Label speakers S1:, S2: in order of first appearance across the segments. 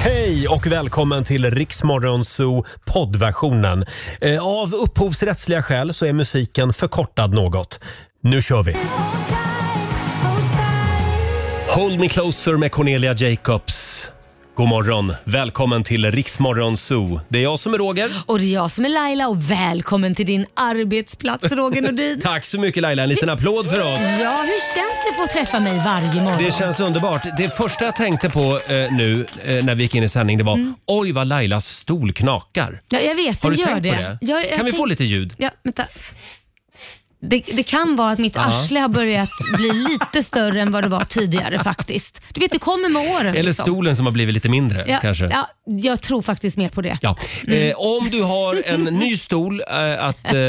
S1: Hej och välkommen till Riksmorgonzoo poddversionen. Eh, Av upphovsrättsliga skäl så är musiken förkortad något. Nu kör vi! Hold me closer med Cornelia Jacobs. God morgon! Välkommen till Riksmorgonzoo. Det är jag som är Roger.
S2: Och det är jag som är Laila och välkommen till din arbetsplats Roger Nordin.
S1: Tack så mycket Laila, en liten applåd för oss.
S2: Ja, hur känns det att få träffa mig varje morgon?
S1: Det känns underbart. Det första jag tänkte på eh, nu eh, när vi gick in i sändning det var oj vad Lailas stol knakar.
S2: Ja, Mm. jag vet,
S1: Har
S2: den
S1: du
S2: gör
S1: tänkt
S2: det.
S1: på det?
S2: Ja, jag
S1: kan vi
S2: tänk-
S1: få lite ljud?
S2: Ja, vänta. Det, det kan vara att mitt arsle har börjat bli lite större än vad det var tidigare faktiskt. Du vet, det kommer med åren.
S1: Eller
S2: liksom.
S1: stolen som har blivit lite mindre
S2: ja,
S1: kanske. Ja.
S2: Ja, jag tror faktiskt mer på det. Mm.
S1: Eh, om du har en ny stol eh, att eh,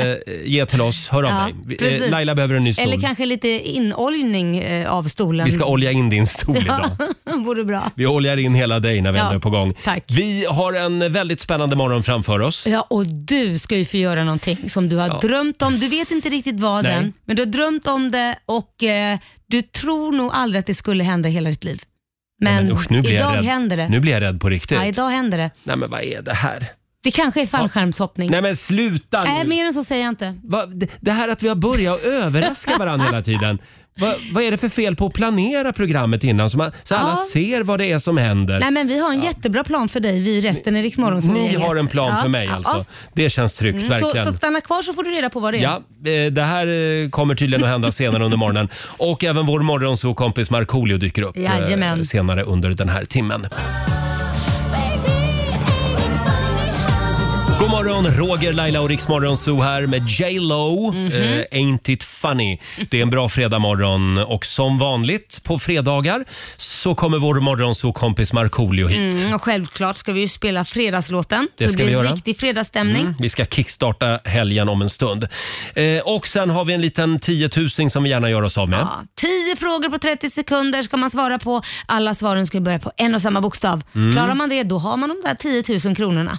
S1: ge till oss, hör av
S2: Ja,
S1: dig. Vi- Eh,
S2: precis.
S1: Laila behöver en ny stol.
S2: Eller kanske lite inoljning eh, av stolen.
S1: Vi ska olja in din stol idag.
S2: Vore bra.
S1: Vi oljar in hela dig när vi
S2: Ja,
S1: ändå är på gång.
S2: tack.
S1: Vi har en väldigt spännande morgon framför oss.
S2: Ja, och du ska ju få göra någonting som du har drömt om. Du vet inte riktigt vad
S1: Nej.
S2: än, men du har drömt om det och eh, du tror nog aldrig att det skulle hända i hela ditt liv. Men,
S1: usch, nu blir
S2: idag
S1: jag rädd.
S2: händer det.
S1: Nu blir jag rädd på riktigt.
S2: ja, idag händer det.
S1: Nej men vad är det här?
S2: Det kanske är fallskärmshoppning.
S1: Nej men sluta nu.
S2: Nej, mer än så säger jag inte.
S1: Va, det- det här att vi har börjat överraska varandra hela tiden. Va, vad är det för fel på att planera programmet innan så, man, så alla
S2: Ja.
S1: ser vad det är som händer?
S2: Nej, men vi har en jättebra plan för dig, vi i resten i Rix Morgon som
S1: Ni
S2: helhet.
S1: har en plan
S2: Ja,
S1: för mig
S2: ja,
S1: alltså.
S2: ja.
S1: Det känns tryggt
S2: Så,
S1: verkligen.
S2: så stanna kvar så får du reda på vad det är.
S1: Ja, eh, det här eh, kommer tydligen att hända senare under morgonen. Och även vår morgonsåkompis Markoolio dyker upp eh,
S2: Jajamän.
S1: senare under den här timmen. God morgon, Roger, Laila och Riksmorgon Zoo här med J Lo.
S2: Mhm.
S1: eh, Ain't it funny? Det är en bra fredagmorgon och som vanligt på fredagar så kommer vår morgonzoo-kompis Markoolio hit.
S2: Mm, och självklart ska vi ju spela fredagslåten.
S1: Det
S2: så
S1: ska
S2: det
S1: vi
S2: blir
S1: göra. Mm.
S2: riktig fredagsstämning.
S1: Vi ska kickstarta helgen om en stund. Eh, och sen har vi en liten tiotusing som vi gärna gör oss av med.
S2: Ja, 10 frågor på 30 sekunder ska man svara på. Alla svaren ska börja på en och samma bokstav. Klarar man det, då har man de där 10 000 kronorna.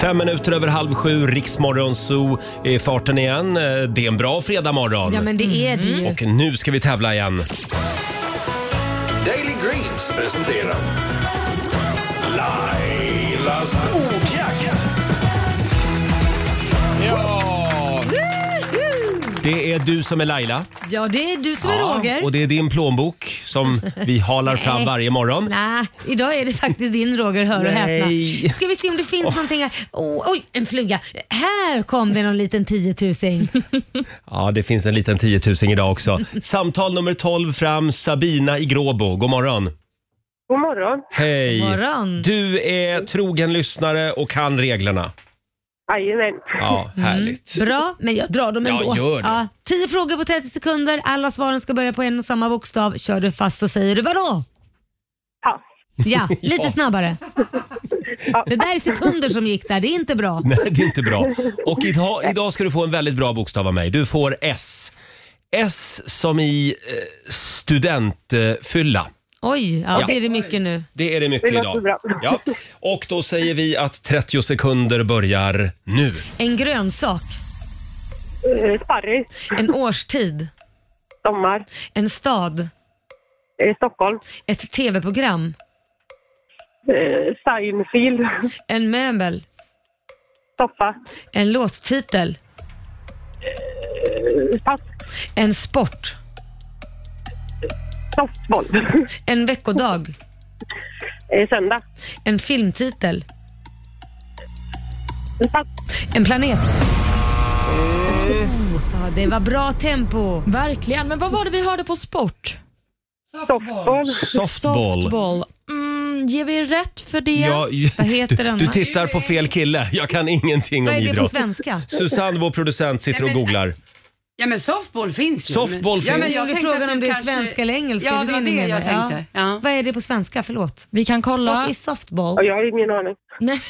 S1: Fem minuter över halv sju, Riksmorgon Zoo är i farten igen. Eh, Det är en bra fredagmorgon.
S2: Ja, men det är det ju.
S1: Och nu ska vi tävla igen.
S3: Daily Greens presenterar Lailas ordjakt.
S1: Det är du som är Laila.
S2: Ja, det är du som är Roger.
S1: Och det är din plånbok som vi halar fram
S2: Nej.
S1: varje morgon.
S2: Nej, idag är det faktiskt din Roger, hör och
S1: Nej.
S2: häpna. Ska vi se om det finns någonting här. Oh, oj, en fluga. Här kom det någon liten 10 000.
S1: Ja, det finns en liten tiotusing idag också. Samtal nummer 12 fram, Sabina i Gråbo. God morgon.
S4: God morgon.
S1: Hej!
S2: God morgon.
S1: Du är trogen lyssnare och kan reglerna.
S4: Jajamän.
S1: Ja,
S2: Mm.
S1: härligt.
S2: Bra, men jag drar dem
S1: Ja,
S2: ändå.
S1: gör det.
S2: 10 frågor på 30 sekunder. Alla svaren ska börja på en och samma bokstav. Kör du fast så säger du vadå?
S4: Pass.
S2: Ja, lite
S1: Ja.
S2: snabbare. Det där är sekunder som gick där, det är inte bra.
S1: Nej, det är inte bra. Och idag, idag ska du få en väldigt bra bokstav av mig. Du får S. S som i eh, studentfylla.
S2: Oj, ja,
S1: Ja.
S2: det är det mycket nu.
S1: Det är det mycket
S4: Det låter
S1: idag.
S4: bra.
S1: Ja. Och då säger vi att 30 sekunder börjar nu.
S2: En grönsak,
S4: Eh, Sparris.
S2: en årstid,
S4: Sommar.
S2: en stad,
S4: Eh, Stockholm.
S2: ett tv-program,
S4: Eh, Seinfeld.
S2: en möbel,
S4: Soffa.
S2: en låttitel,
S4: Eh, Pass.
S2: en sport,
S4: Softboll.
S2: en veckodag,
S4: Eh, Söndag.
S2: en filmtitel,
S4: Pass.
S2: en planet.
S1: Eh.
S2: Ja, det var bra tempo.
S5: Verkligen. Men vad var det vi hörde på sport?
S4: Softboll.
S1: Softball.
S5: Softball. Mm, ger vi rätt för det?
S1: Ja,
S2: Vad heter den?
S1: du, du tittar på fel kille. Jag kan ingenting
S2: Vad
S1: om
S2: är det på
S1: idrott.
S2: svenska?
S1: Susanne, vår producent, sitter och
S6: Nej, men-
S1: googlar.
S6: Ja men softball finns ju.
S1: Softball
S6: ja, Men
S1: finns.
S6: jag
S2: Du
S6: tänkte
S2: frågar
S6: att du
S2: om det är
S6: kanske-
S2: svenska eller engelska.
S6: Ja
S2: är
S6: det var
S2: du
S6: det
S2: inne
S6: jag
S2: med?
S6: tänkte. Ja.
S2: Vad är det på svenska? Förlåt.
S5: Vi kan
S2: What
S5: kolla.
S2: is softball?
S4: Och jag har ingen aning.
S5: Nej.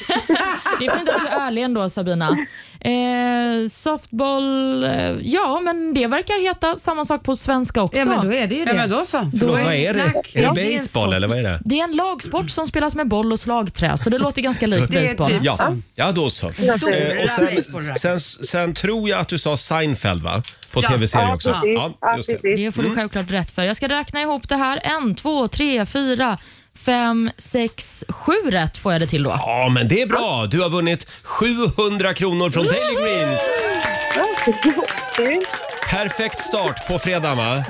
S5: Det är fint att du är ärlig ändå Sabina. Eh, softball, eh, ja men det verkar heta samma sak på svenska också.
S2: Ja, men då är det ju
S6: Ja,
S2: det.
S6: men då så.
S1: Förlåt, vad är det?
S6: snack.
S1: Är
S5: Ja,
S1: det
S5: det är en
S1: baseball
S5: sport.
S1: eller vad är det?
S5: Det är en lagsport som spelas med boll och slagträ, så det låter ganska likt
S6: Det är
S5: baseball.
S6: typ-
S1: Ja, ja då så.
S6: Stora
S1: Eh, och sen,
S6: baseballracket.
S1: sen, sen tror jag att du sa Seinfeld va? På
S6: Ja.
S1: tv-serien också.
S4: precis. Ja,
S1: just det.
S4: precis.
S5: Det får du självklart rätt för. Jag ska räkna ihop det här. En, två, tre, fyra, fem, sex, sju rätt får jag det till då.
S1: Ja, men det är bra. Du har vunnit 700 kronor från Daily Greens.
S4: Kul.
S1: Perfekt start på fredag va?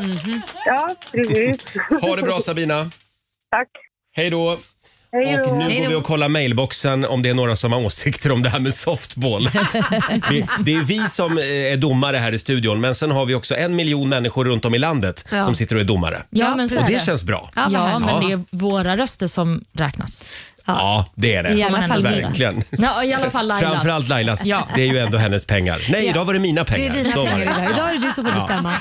S4: Ja, precis.
S1: Ha det bra Sabina.
S4: Tack.
S1: Hej då.
S4: Hej
S1: Och
S4: då.
S1: nu går vi och kollar mailboxen om det är några som har åsikter om det här med softball. Vi, det är vi som eh, är domare här i studion, men sen har vi också en miljon människor runt om i landet
S2: Ja.
S1: som sitter och är domare.
S5: Ja, men så
S1: Och
S5: är
S1: det
S5: det.
S1: känns bra.
S2: Ja, vad
S5: Ja,
S2: härligt.
S5: men det är våra röster som räknas.
S1: Ja, det är det.
S2: I alla fall mina.
S1: Verkligen.
S5: Ja, I alla fall Lailas.
S1: Framförallt Lailas.
S5: Ja.
S1: Det är ju ändå hennes pengar. Nej,
S2: Ja.
S1: idag var det mina
S2: Det
S1: pengar.
S2: är dina
S1: Så var
S2: pengar
S1: det.
S2: idag. Idag är det du som får bestämma.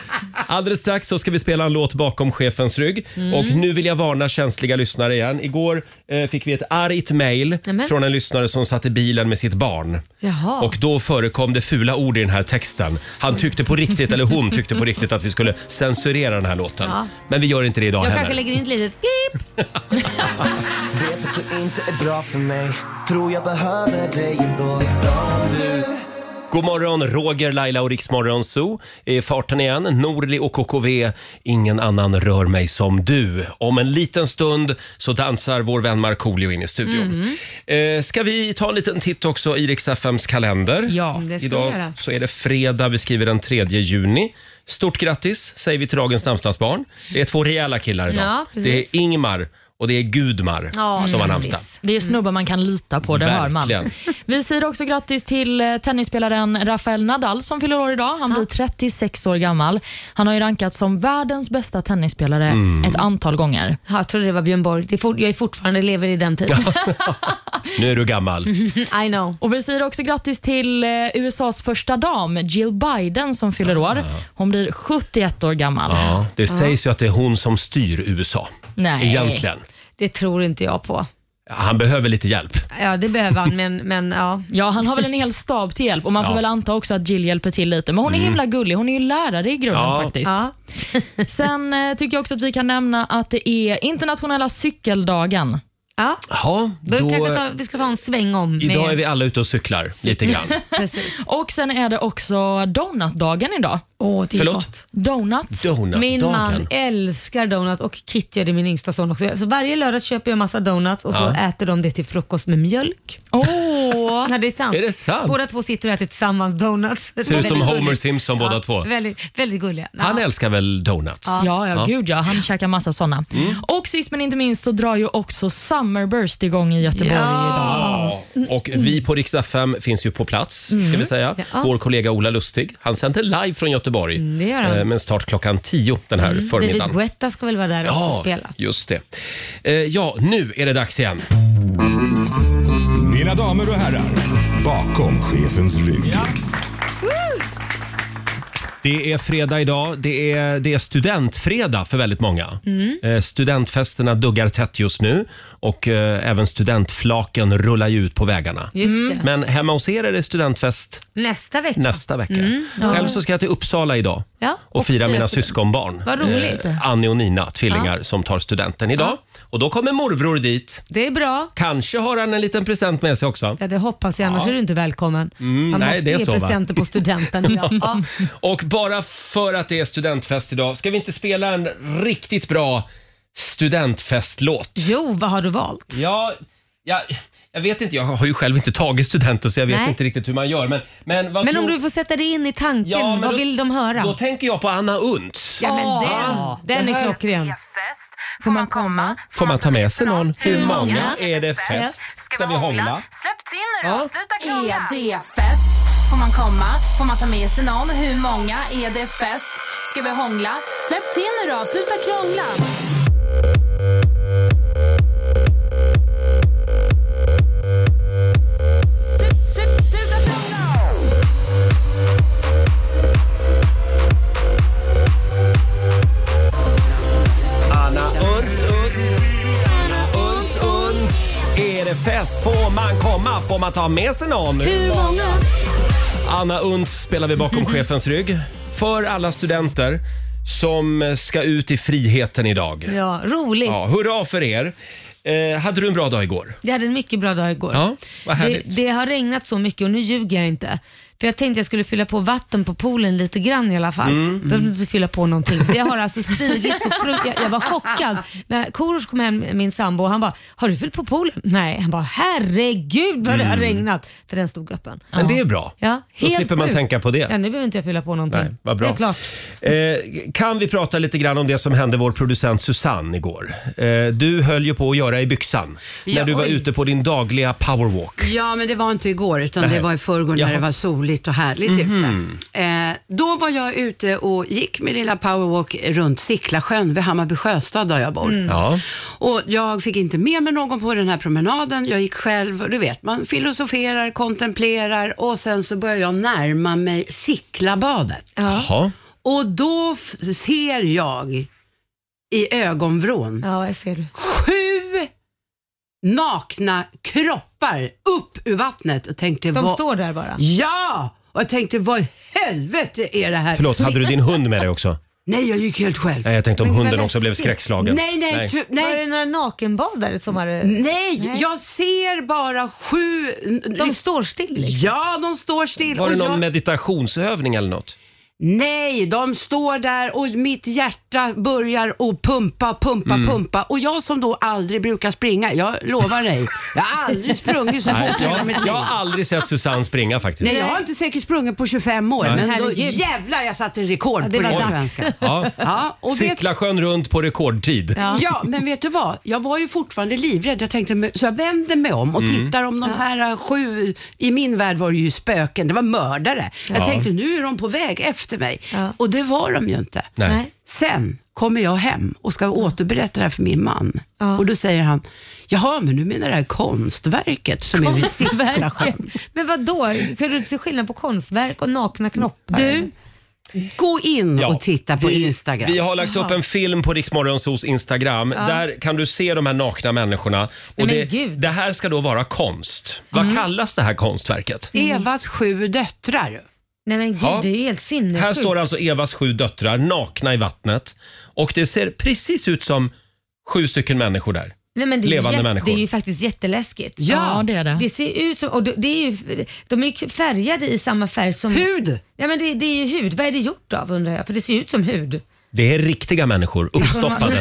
S1: Alldeles strax så ska vi spela en låt bakom chefens rygg.
S2: Mm.
S1: Och nu vill jag varna känsliga lyssnare igen. Igår eh, fick vi ett argt mail
S2: Nämen.
S1: från en lyssnare som satt i bilen med sitt barn.
S2: Jaha.
S1: Och då förekom det fula ord i den här texten. Han tyckte på riktigt, eller hon tyckte på riktigt att vi skulle censurera den här låten.
S2: Ja.
S1: Men vi gör inte det idag
S2: Jag kanske
S1: heller.
S2: lägger in ett litet pip.
S7: Vet att du inte är bra för mig Tror jag behöver dig ändå Som du
S1: God morgon, Roger, Laila och Riksmorgon Zoo. I farten igen, Norli och KKV. Ingen annan rör mig som du. Om en liten stund så dansar vår vän Markoolio in i
S2: Mhm.
S1: studion. Eh, ska vi ta en liten titt också i Rix FMs kalender? Mm,
S5: Ja.
S2: Det ska vi
S1: Idag
S2: göra.
S1: så är det fredag, vi skriver den 3 juni. Stort grattis säger vi till dagens namnsdagsbarn. Det är två rejäla killar idag.
S2: Ja, precis.
S1: det är Ingmar och det är Gudmar
S2: Ja,
S1: som har
S2: grattis.
S1: namnsdag.
S5: Det är snubbar man kan lita på, det hör
S1: Verkligen.
S5: man. Vi säger också grattis till eh, tennisspelaren Rafael Nadal som fyller år idag. Han blir 36 år gammal. Han har ju rankats som världens bästa tennisspelare
S1: Mm.
S5: ett antal gånger.
S2: Ja, jag trodde det var Björn Borg. Det är fort, jag är fortfarande lever i den tiden.
S1: Nu är du gammal.
S2: I know.
S5: Och Vi säger också grattis till eh, USAs första dam, Jill Biden, som fyller år. Hon blir 71 år gammal.
S1: Ja, det sägs ju att det är hon som styr USA.
S5: Nej.
S1: Egentligen.
S2: Det tror inte jag på.
S1: Han behöver lite hjälp.
S2: Ja, det behöver han, men, men ja.
S5: Ja, han har väl en hel stab till hjälp och man
S1: Ja. Mm.
S5: får väl anta också att Jill hjälper till lite. Men hon är himla gullig. Hon är ju lärare i grunden
S1: Ja.
S5: faktiskt.
S2: ja.
S5: Sen eh, tycker jag också att vi kan nämna att det är internationella cykeldagen.
S2: ja.
S1: Ja,
S2: Då,
S1: då,
S2: kanske ta, vi ska ta en sväng om. med-
S1: idag är vi alla ute och cyklar lite grann.
S2: Precis.
S5: Och sen är det också donutdagen idag.
S2: Åh, det är
S1: Förlåt?
S2: gott.
S5: Donuts.
S2: Min man
S1: Donutdagen.
S2: älskar donut och Kitty och det är min yngsta son också. Så varje lördag köper jag massa donuts och så
S1: Ja.
S2: äter de det till frukost med mjölk.
S5: Åh,
S2: Ja, det är sant.
S1: Är det sant?
S2: Båda två sitter och äter tillsammans donuts.
S1: Ser ut som
S2: Väldigt
S1: Homer
S2: gulligt.
S1: Simpson
S2: Ja,
S1: båda två.
S2: Väldigt, väldigt gulliga.
S1: Han
S2: Ja.
S1: älskar väl donuts?
S5: Ja, ja, gud ja. Han käkar massa sådana. Och sist men inte minst så drar ju också Summerburst igång i Göteborg idag.
S1: Ja, Och vi på Rix FM finns ju på plats, ska vi säga.
S2: Mm. Ja. Mm,
S1: Vår kollega Ola Lustig, han sänder live från Göteborg.
S2: det gör han. Mm.
S1: eh, Med start klockan 10 den här
S2: David
S1: förmiddagen.
S2: Guetta ska väl vara där också och spela.
S1: just det. Eh, Ja, nu är det dags igen.
S3: Mina damer och herrar, bakom chefens rygg.
S1: Det är fredag idag. Det är, det är studentfredag för väldigt många.
S2: Mm.
S1: Eh, studentfesterna duggar tätt just nu och eh, även studentflaken rullar ju ut på vägarna.
S2: Just det.
S1: Men hemma hos er är det studentfest
S2: Mm. Nästa vecka.
S1: nästa vecka. Själv så ska jag till Uppsala idag
S2: Mm. Ja,
S1: och,
S2: och
S1: fira
S2: fira
S1: mina
S2: student.
S1: syskonbarn.
S2: Vad roligt.
S1: Eh, Annie och Nina, tvillingar som tar studenten idag. Och då kommer morbror dit.
S2: Det är bra.
S1: Kanske har han en liten present med sig också.
S2: Ja, det hoppas jag, annars är du inte välkommen. Man
S1: Mm. nej,
S2: måste
S1: det är
S2: ge
S1: så, va?
S2: presenter på studenten idag. ja.
S1: Och bara för att det är studentfest idag, ska vi inte spela en riktigt bra studentfestlåt?
S2: Jo, vad har du valt?
S1: Ja, jag, jag vet inte. Jag har ju själv inte tagit studenten så jag vet
S2: Nej.
S1: inte riktigt hur man gör. Men, men, vad
S2: Men om
S1: tror-
S2: du får sätta dig in i tanken,
S1: Ja, men
S2: vad
S1: då-
S2: vill de höra?
S1: Då tänker jag på Anna Unt.
S2: ja, men
S5: Ja,
S2: den, den är klockren.
S5: Får man komma?
S1: Får man ta med sig någon? Hur många
S2: många?
S1: är det fest? Ska vi hångla?
S8: Släpp till nu då, sluta
S9: Är
S8: krångla.
S9: det fest? Får man komma? Får man ta med sig någon? Hur många? Är det fest? Ska vi hångla? Släpp till nu då, sluta krångla!
S1: Anna Unt, Unt, Unt. Är det fest? Får man komma? Får man ta med sig någon?
S2: Hur många?
S1: Anna Unds spelar vi bakom chefens rygg. För alla studenter som ska ut i friheten idag.
S2: Ja, roligt.
S1: Ja, hurra för er! Eh, hade du en bra dag igår?
S2: Jag hade en mycket bra dag igår.
S1: Ja, vad
S2: det,
S1: härligt.
S2: det har regnat så mycket och nu ljuger jag inte. För jag tänkte jag skulle fylla på vatten på poolen lite grann i alla fall.
S1: Mm.
S2: Behövde inte fylla på någonting. Det har alltså stigit så frukt. Jag, jag var chockad. När Korosh kom hem, min sambo, och han bara, har du fyllt på poolen? Nej, han bara, herregud vad det har regnat. För den stod öppen.
S1: Men det är bra.
S2: Ja,
S1: Mm. Då
S2: helt
S1: slipper man
S2: sjukt.
S1: tänka på det.
S2: Ja, nu behöver inte jag fylla på någonting.
S1: Nej, vad bra.
S2: Det är klart.
S1: Eh, kan vi prata lite grann om det som hände vår producent Susanne igår? Eh, du höll ju på att göra i byxan när
S6: Ja,
S1: du var
S6: oj.
S1: ute på din dagliga powerwalk.
S6: Ja, men det var inte igår utan
S1: Nej.
S6: det var i förrgår när
S1: Jaha. Mhm.
S6: det var soligt och härligt ute. Eh, då var jag ute och gick min lilla powerwalk runt Sicklasjön vid Hammarby sjöstad där jag bor.
S1: Ja.
S6: Och jag fick inte med mig någon på den här promenaden. Jag gick själv. Du vet, man filosoferar, kontemplerar och sen så börjar jag närma mig Sicklabadet.
S1: Jaha.
S6: Och då f- ser jag i ögonvrån
S2: Ja, jag ser du.
S6: sju nakna kroppar upp ur vattnet och tänkte
S2: De
S6: vad...
S2: står där bara.
S6: Ja! Och jag tänkte vad i helvete är det här?
S1: Förlåt, hade du din hund med dig också?
S6: Nej, jag gick helt själv.
S1: Nej, jag tänkte om
S2: Men vad
S1: hunden också
S2: läskigt.
S1: blev skräckslagen.
S6: Nej, nej, nej. Tu,
S2: Var
S6: nej, Mm.
S2: det några nakenbadare som hade...
S6: nej, jag ser bara sju...
S2: De står still liksom.
S6: Ja, de står still.
S1: Var det
S6: och
S1: någon
S6: jag...
S1: meditationsövning eller något?
S6: Nej, de står där och mitt hjärta börjar att pumpa, pumpa,
S2: Mm.
S6: pumpa. Och jag som då aldrig brukar springa, jag lovar dig, jag har aldrig sprungit så
S1: Nej,
S6: fort i hela mitt
S1: jag, jag
S6: liv.
S1: har aldrig sett Susanne springa faktiskt.
S6: Nej, jag har inte säkert sprungit på 25 år, men då
S2: Herregud.
S6: jävlar jag satte rekord
S2: Ja, det
S6: på
S2: var
S6: det
S2: dags.
S6: svenska.
S1: Ja.
S6: Ja, och vet,
S1: Sickla sjön runt på rekordtid.
S2: Ja.
S6: ja, men vet du vad? Jag var ju fortfarande livrädd. Jag tänkte, men- så jag vänder mig om
S2: Mm.
S6: och tittar om de här äh, sju, i min värld var det ju spöken, det var mördare. Jag tänkte, nu är de på väg efter mig.
S2: Ja.
S6: Och det var de ju inte.
S1: Nej.
S2: Nej.
S6: Sen kommer jag hem och ska återberätta det här för min man.
S2: Ja.
S6: Och då säger han, jaha, men du menar det här konstverket som är vid Sicklasjön?
S2: Konstverket. Men vad då? Kan du inte se skillnad på konstverk och
S1: Mm.
S2: nakna knoppar?
S6: Du, gå in
S1: Ja,
S6: och titta på
S1: vi,
S6: Instagram.
S1: Vi har lagt upp en film på Riksmorgonsos Instagram. Där kan du se de här nakna människorna. Och
S2: men
S1: det,
S2: gud. Mm.
S1: det här ska då vara konst. Vad kallas det här konstverket?
S6: Evas sju döttrar.
S2: Nej men gud,
S1: Ja.
S2: det är ju helt sinnessjukt.
S1: Här står alltså Evas sju döttrar nakna i vattnet. Och det ser precis ut som sju stycken människor där.
S2: Nej, men det är
S1: levande
S2: jätte,
S1: människor.
S2: Det är ju faktiskt jätteläskigt.
S6: Ja.
S5: Ja, det är det.
S2: Det ser ut som, och det- det är ju, de är ju färgade i samma färg som...
S6: Hud!
S2: Ja men det, det är ju hud. Vad är det gjort av undrar jag? För det ser ju ut som hud.
S1: Det är riktiga människor, uppstoppade.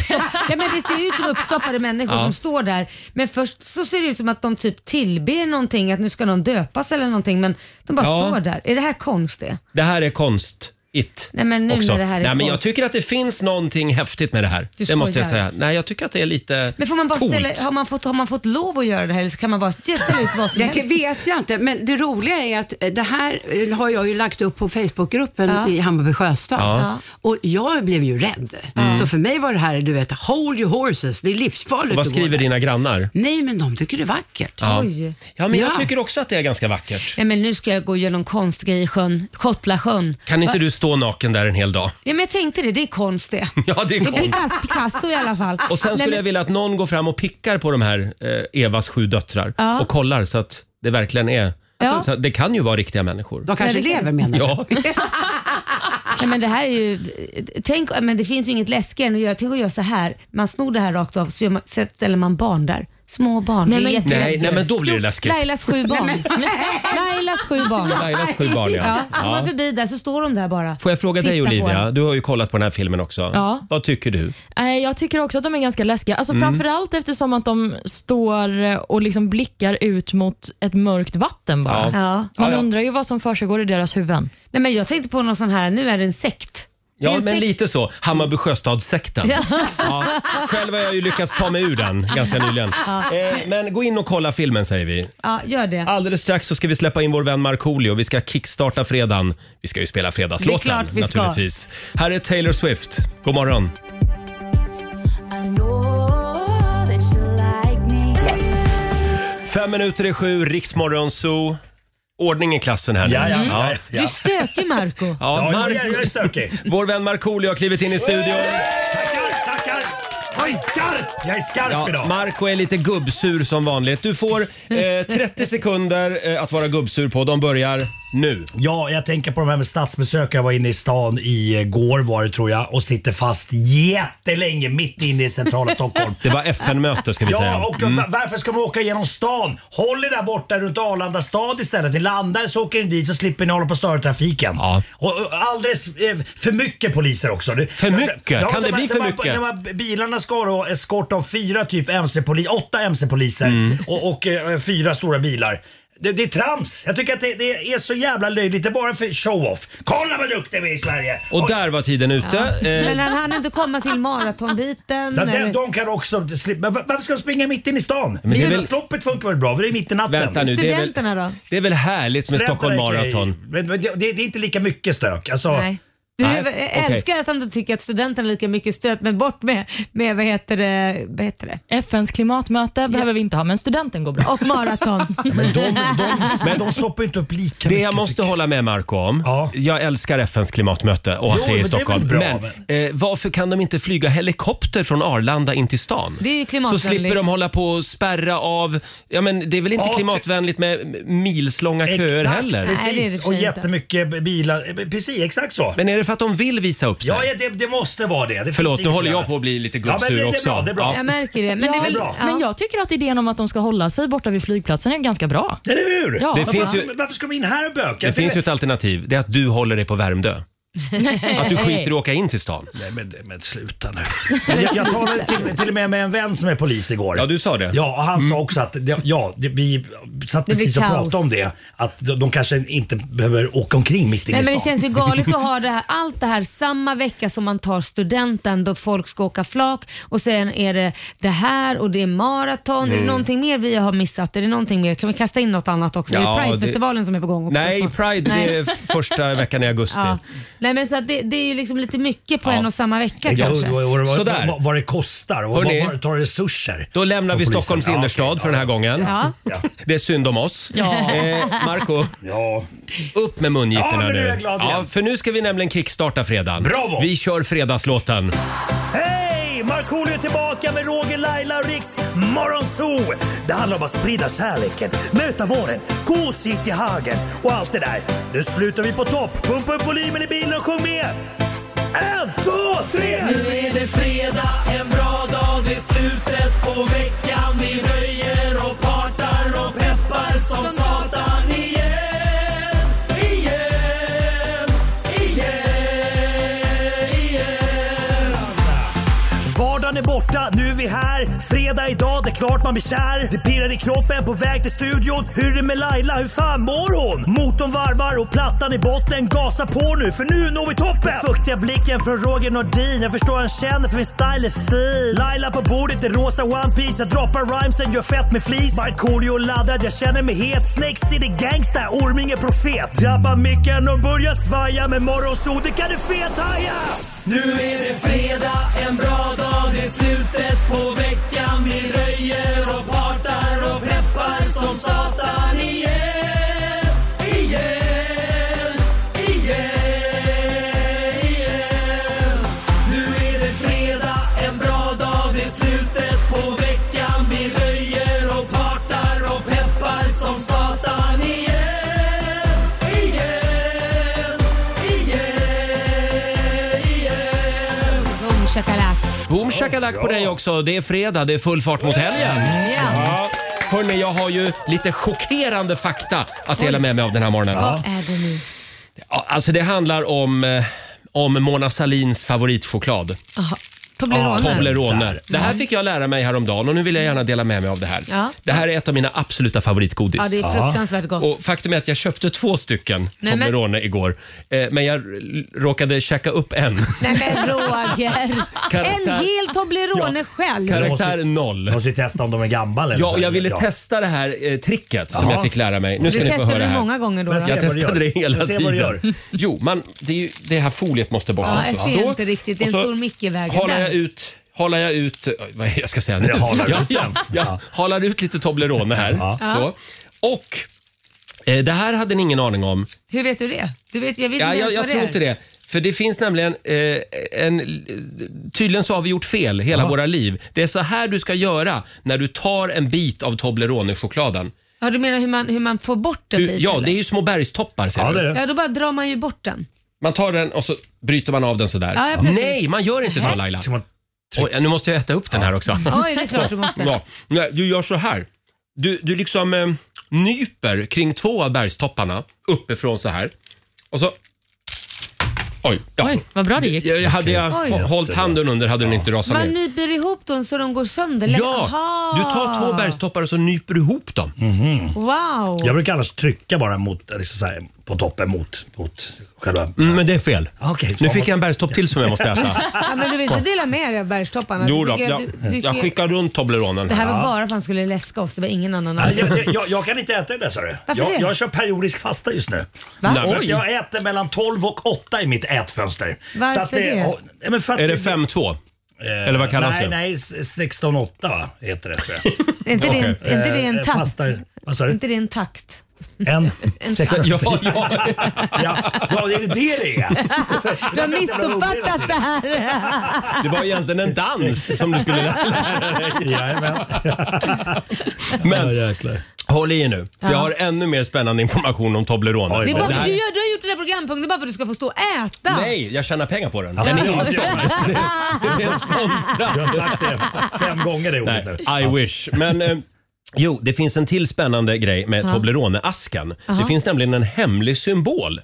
S2: Ja, men det ser ut som uppstoppade människor
S1: Ja.
S2: som står där. Men först så ser det ut som att de typ tillber någonting, att nu ska någon döpas eller någonting. Men de bara
S1: Ja.
S2: står där. Är det här konst det?
S1: Det här är konst. It.
S2: Nej, men nu
S1: också.
S2: när det här är
S1: Nej, men jag
S2: konst.
S1: tycker att det finns någonting häftigt med det här.
S2: Du
S1: det måste jag
S2: skojar.
S1: säga. Nej, jag tycker att det är lite
S2: Men får man bara
S1: coolt.
S2: ställa, har, man fått, har man fått lov att göra det här eller så kan man bara ställa ut vad som
S6: Det
S2: helst?
S6: vet jag inte, men det roliga är att eh, det här eh, har jag ju lagt upp på Facebookgruppen
S2: Ja.
S6: i Hammarby sjöstad.
S1: Ja.
S6: Och jag blev ju rädd.
S2: Mm.
S6: Så för mig var det här, du vet, hold your horses, det är livsfarligt
S1: Vad
S6: att gå
S1: skriver
S6: där.
S1: dina grannar?
S6: Nej, men de tycker det är vackert.
S1: Ja.
S2: Oj.
S1: Ja, men jag
S6: Ja.
S1: tycker också att det är ganska vackert.
S2: Nej men nu ska jag gå och göra någon konstgrej i sjön, Skottlasjön.
S1: Kan inte du stå naken där en hel dag?
S2: Ja, men jag tänkte det, det är konst det.
S1: Ja, det är
S2: Det blir
S1: konst.
S2: Picasso- Picasso i alla fall.
S1: Och sen skulle
S2: Nej,
S1: jag
S2: men,
S1: vilja att någon går fram och pickar på de här eh, Evas sju döttrar
S2: Ja.
S1: och kollar så att det verkligen är...
S2: Ja.
S1: Så att det kan ju vara riktiga människor.
S6: De kanske
S2: Ja, det kan-
S6: lever menar jag.
S1: Ja.
S2: nej, men det här är ju, tänk, men det finns ju inget läskigare än att göra, tänk att göra så här. Man snor det här rakt av så gör man, så ställer man barn där. Små barn.
S5: Nej,
S2: det är
S5: men-
S2: jätteläskigt.
S1: Nej, nej, men då blir det läskigt.
S2: Lailas sju barn. Lailas sju barn.
S1: Lailas sju barn, ja.
S2: Ja, så går man förbi där så står de där bara.
S1: Får jag fråga dig
S2: Titta på
S1: Olivia,
S2: den.
S1: du har ju kollat på den här filmen också.
S5: Ja.
S1: Vad tycker du?
S5: Nej, Eh, Jag tycker också att de är ganska läskiga. Alltså, Framförallt eftersom att de står eh, och liksom blickar ut mot ett mörkt vatten bara.
S2: Ja.
S5: Man
S1: Ja, ja.
S5: undrar ju vad som försiggår i deras huvuden.
S2: Nej, men jag tänkte på någon sån här, nu är det en sekt. Det är
S1: Ja,
S2: en
S1: men
S2: sekt.
S1: lite så. Hammarby Sjöstadssekten. Ja. Själv har jag ju lyckats ta mig ur den ganska nyligen. Eh, men gå in och kolla filmen säger vi.
S2: Ja, gör det.
S1: Alldeles strax så ska vi släppa in vår vän Markoolio. Vi ska kickstarta fredagen. Vi ska ju spela
S2: Det är
S1: fredagslåten
S2: klart vi ska.
S1: naturligtvis. Här är Taylor Swift. God morgon. Fem minuter i sju, Riksmorgon Zoo. Ordning i klassen här nu.
S8: Ja, ja, ja.
S2: Du
S8: ja.
S2: är stökig Marco
S1: Ja,
S8: ja jag,
S1: Mark,
S8: är- jag är stökig.
S1: vår vän Markoolio har klivit in i studion.
S8: Tackar, tackar! Jag är skarp! Jag är skarp
S1: Ja,
S8: idag.
S1: Marco är lite gubbsur som vanligt. Du får eh, 30 sekunder eh, att vara gubbsur på. De börjar nu?
S8: Ja, jag tänker på de här med statsbesök. Jag var inne i stan igår var det tror jag och sitter fast jättelänge mitt inne i centrala Stockholm.
S1: Det var FN-möte ska vi säga. Mm.
S8: Ja, och va- varför ska man åka genom stan? Håll er där borta runt Arlanda stad istället. Ni landar så åker ni dit så slipper ni hålla på och störa trafiken.
S1: Ja.
S8: Och, och alldeles eh, för mycket poliser också. Det-
S1: För mycket? Kan det
S8: var-
S1: bli för
S8: var-
S1: mycket?
S8: när man- bilarna ska ha eskort av fyra typ MC-polis, åtta MC-poliser
S1: Mm.
S8: och, och eh, fyra stora bilar. Det, det är trams. Jag tycker att det, det är så jävla löjligt. Det är bara för show-off. Kolla vad duktiga vi är i Sverige!
S1: Och
S8: Oj,
S1: där var tiden ute. Eh,
S2: Men han hann inte komma till maratonbiten.
S8: Ja, de,
S2: eller-
S8: de kan också slippa. Men Varför ska de springa mitt in i stan?
S1: Men det är väl-
S8: Midnattsloppet funkar väl bra? för Det är mitt i natten.
S1: vänta nu, det är väl,
S2: Studenterna då?
S1: det är väl härligt med
S8: Studenterna
S1: Stockholm
S8: är okej,
S1: Marathon?
S8: Men men det, det, det är inte lika mycket stök. Alltså,
S2: Nej. Du,
S1: Nej,
S2: jag
S1: okej.
S2: älskar att han inte tycker att studenten är lika mycket stöd, men bort med, med vad, heter det, vad heter det?
S5: FNs klimatmöte behöver vi inte ha, men studenten går bra.
S2: Och maraton.
S8: Men de, de, men de stoppar ju inte upp lika
S1: Det
S8: mycket.
S1: jag måste hålla med Marco om,
S8: Ja.
S1: jag älskar FNs klimatmöte och att
S8: Jo,
S1: det är i
S8: men det är väl
S1: Stockholm.
S8: bra,
S1: men eh, varför kan de inte flyga helikopter från Arlanda in till stan?
S2: Det är ju
S1: Så
S2: klimatvänligt.
S1: slipper de hålla på och spärra av, ja men det är väl inte
S8: Ja, för-
S1: klimatvänligt med milslånga köer
S8: Exakt,
S1: heller?
S8: Precis,
S2: Nej, det är det för
S8: och
S2: sig inte.
S8: jättemycket bilar. Eh, Precis, exakt så.
S1: Men är det för att de vill visa upp sig?
S8: ja, ja, det, det måste vara det. det finns
S1: Förlåt, nu
S8: inget
S1: håller jag
S8: annat.
S1: på att bli lite
S8: Ja, men det-
S1: gubbsur
S8: det är
S1: också.
S8: bra, det är bra.
S2: Jag märker det. Men det är väl,
S8: bra.
S5: Men jag tycker att idén om att de ska hålla sig borta vid flygplatsen är ganska bra.
S8: Eller hur?
S5: Ja.
S1: Det
S8: Varför-
S1: finns ju-
S8: men Varför ska de in här och böka?
S1: Det finns ju ett alternativ, det är att du håller dig på Värmdö. Att du skiter i att åka in till stan.
S8: Nej, men, men sluta nu. Jag, jag talade till, till och med med en vän som är polis igår.
S1: Ja, du sa det. Mm.
S8: Ja, och han sa också att, det- ja, det, vi satt
S2: blir
S8: precis och
S2: kaos.
S8: pratade om det. Att de, de kanske inte behöver åka omkring mitt inne
S2: Nej, men
S8: i
S2: det
S8: stan.
S2: känns ju galet att ha det här, allt det här samma vecka som man tar studenten då folk ska åka flak och sen är det det här och det är maraton.
S1: Mm.
S2: Är det någonting mer vi har missat? Är det någonting mer? Kan vi kasta in något annat också?
S1: Ja,
S2: är
S1: det-
S2: det Pridefestivalen som är på gång också?
S1: Nej, Pride det är f- första veckan i augusti.
S2: Ja. Nej men så att det, det är ju liksom lite mycket på
S1: Ja.
S2: en och samma vecka
S8: Ja,
S2: kanske.
S8: och- och- och- och-
S1: Sådär.
S8: Vad, vad det kostar och vad,
S1: Hörrni.
S8: vad det tar resurser.
S1: Då lämnar vi
S8: Från polisen.
S1: Stockholms
S8: Ja, okej,
S1: innerstad för den här gången.
S2: Ja.
S8: Ja.
S1: Det är synd om oss.
S5: Ja.
S1: Eh, Marco,
S8: ja.
S1: upp med mungiporna
S8: Ja, men nu
S1: nu.
S8: är jag glad igen.
S1: för nu ska vi nämligen kickstarta fredagen.
S8: Bravo!
S1: Vi kör fredagslåten.
S8: Hej! Markoolio är tillbaka med Roger, Laila och Riks Morgonzoo! Det handlar om att sprida kärleken, möta våren, gosigt i hagen och allt det där. Nu slutar vi på topp! Pumpa upp volymen i bilen och sjung med! En, två, tre! Nu är det fredag, en bra dag, det är slutet på veckan. Vi röjer och partar och peppar som satan igen, igen, igen, igen. Vardagen är borta, nu är vi här. Fredag idag, det är klart man blir kär. Det pirrar i kroppen, på väg till studion. Hur är det med Laila, hur fan mår hon? Motorn varvar och plattan i botten. Gasa på nu, för nu når vi toppen! Den Fuktiga blicken från Roger Nordin. Jag förstår han känner, för min style är fin. Laila på bordet i rosa One Piece Jag droppar rhymesen, gör fett med flis. Markoolio laddad, jag känner mig het. Snakes city gangsta, Orminge profet. Drabbar micken och börjar svaja. Med morgonsol, det kan du fethaja! Nu är det fredag, en bra dag. Det är slutet på veckan. Vi röjer och partar och peppar som satan igen. Igen, igen, igen. Nu är det fredag, en bra dag. Det är slutet på veckan. Vi röjer och partar och peppar som satan igen. Igen, igen, igen.
S2: Boom, shakalak.
S1: Boom shakalak på dig också. Det är fredag, det är full fart mot helgen.
S2: Ja.
S1: Ja. Hörni, jag har ju lite chockerande fakta att dela med mig av den här morgonen.
S2: Vad är det nu?
S1: Ja, alltså det handlar om, eh, om Mona Salins favoritchoklad.
S2: Aha. Toblerone.
S1: Toblerone. Det här fick jag lära mig häromdagen och nu vill jag gärna dela med mig av det här.
S2: Ja.
S1: Det här är ett av mina absoluta favoritgodis.
S2: Ja, det är fruktansvärt gott.
S1: Och faktum är att jag köpte två stycken
S2: Nej, men-
S1: Toblerone igår. Eh, men jag r- råkade käka upp en.
S2: Nej men Roger!
S1: Karaktär-
S2: En hel Toblerone
S1: Ja.
S2: själv.
S1: Karaktär noll.
S8: måste ju testa om de är gamla eller
S1: Ja,
S8: så.
S1: och jag ville
S8: Ja.
S1: testa det här eh, tricket som
S8: Jaha.
S1: jag fick lära mig. Nu ska
S2: Du
S1: ni få höra
S2: testade
S1: det
S2: det
S1: här.
S2: många gånger då?
S8: Men
S2: då?
S8: se-
S1: Jag
S8: Se vad det
S1: testade det
S8: gör.
S1: hela
S8: Jag ser vad det gör.
S1: tiden. Jo, man, det, är ju, det här foliet måste bort.
S2: Ja,
S1: också.
S2: jag ser inte riktigt. Det är en
S1: Alltså. Och så
S2: stor mick i vägen
S1: Håller
S2: där.
S1: jag ut... Håller jag ut... oj, Vad är det jag ska säga nu?
S8: Jag håller
S1: ja,
S8: ut
S1: ja,
S8: den.
S1: ja,
S8: Ja.
S1: håller ut lite Toblerone här. Så. Och eh, det här hade ni ingen aning om.
S2: Hur vet du det? Du vet, jag vet
S1: Ja,
S2: inte
S1: jag
S2: ens
S1: jag
S2: vad
S1: tror
S2: är.
S1: inte det. För det finns nämligen eh, en... Tydligen så har vi gjort fel hela våra liv. Det är så här du ska göra när du tar en bit av Toblerone-chokladen.
S2: Ja, du menar hur man, hur man får bort den
S1: Du,
S2: dit?
S1: ja,
S2: eller?
S1: det är ju små bergstoppar ser
S8: Ja,
S1: du.
S8: det är det.
S2: ja, då bara drar man ju bort den.
S1: Man tar den och så bryter man av den sådär.
S2: Ja, ja, precis.
S1: Nej, man gör inte så Laila.
S8: Ska man-
S1: Oj, nu måste jag äta upp den här också.
S2: Oj, det är klart du måste.
S1: Ja. Nej, du gör så här. Du, du liksom eh, nyper kring två av bergstopparna uppifrån så här. Och så... Oj, ja.
S5: Oj, vad bra det gick.
S1: Jag, jag- hade jag
S2: Oj.
S1: hå- hållit handen under hade den inte rasat
S2: Man
S1: ner.
S2: nyper ihop dem så de går sönder. lätt.
S1: Ja,
S2: Aha.
S1: du tar två bergstoppar och så nyper du ihop dem.
S2: Wow!
S8: Jag brukar annars trycka bara mot, liksom så här, på toppen mot, mot själva...
S1: Mm, men det är fel.
S8: Okej,
S1: Nu fick jag en bergstopp till som jag måste äta.
S2: Ja, men du vill inte dela med dig av bergstopparna?
S1: Jo
S2: Du
S1: då,
S2: tycker-
S1: jag,
S2: du- du
S1: jag
S2: tycker-
S1: skickar runt Tobleronen.
S2: Det här var bara för att han skulle läska oss, det var ingen annan
S8: Nej,
S2: anledning.
S8: jag, jag, jag kan inte äta det där sa du.
S2: Varför
S8: jag,
S2: det?
S8: jag kör periodisk fasta just nu.
S2: Va?
S1: Nej,
S8: Så att
S1: Oj.
S8: Alltså, jag äter mellan 12 och 8 i mitt ätfönster.
S2: Varför
S8: så att
S2: det?
S8: ja, nej, men för att
S1: Är det 5-2? Eller vad kallas
S8: Eh, nej,
S1: det?
S8: Nej, s- 16-8 va, heter det. tror jag.
S2: Är inte, det, en, är inte det
S8: Eh,
S2: en takt?
S8: fasta- Vad sa
S2: Är
S8: du?
S2: inte det en takt?
S8: En?
S1: Ja, ja.
S8: Ja, ja, det är det det är.
S2: Du har missuppfattat det här!
S1: Det var egentligen en dans som du skulle lära dig.
S8: Jajamän.
S1: Men
S8: jäklar.
S1: håll i er nu, för jag har ännu mer spännande information om Toblerone.
S2: Det är bara,
S1: Det
S2: för-
S1: här-
S2: du, gör, du har gjort den där programpunkten bara för att du ska få stå och äta.
S1: Nej, jag tjänar pengar på den.
S8: Ja,
S1: Den är
S8: ja,
S1: inte det är
S8: Jag
S1: sponsrad.
S8: har sagt det fem gånger det ordet nu.
S1: Nej, I wish. Men eh, jo, det finns en till spännande grej med Toblerone-asken. Det finns nämligen en hemlig symbol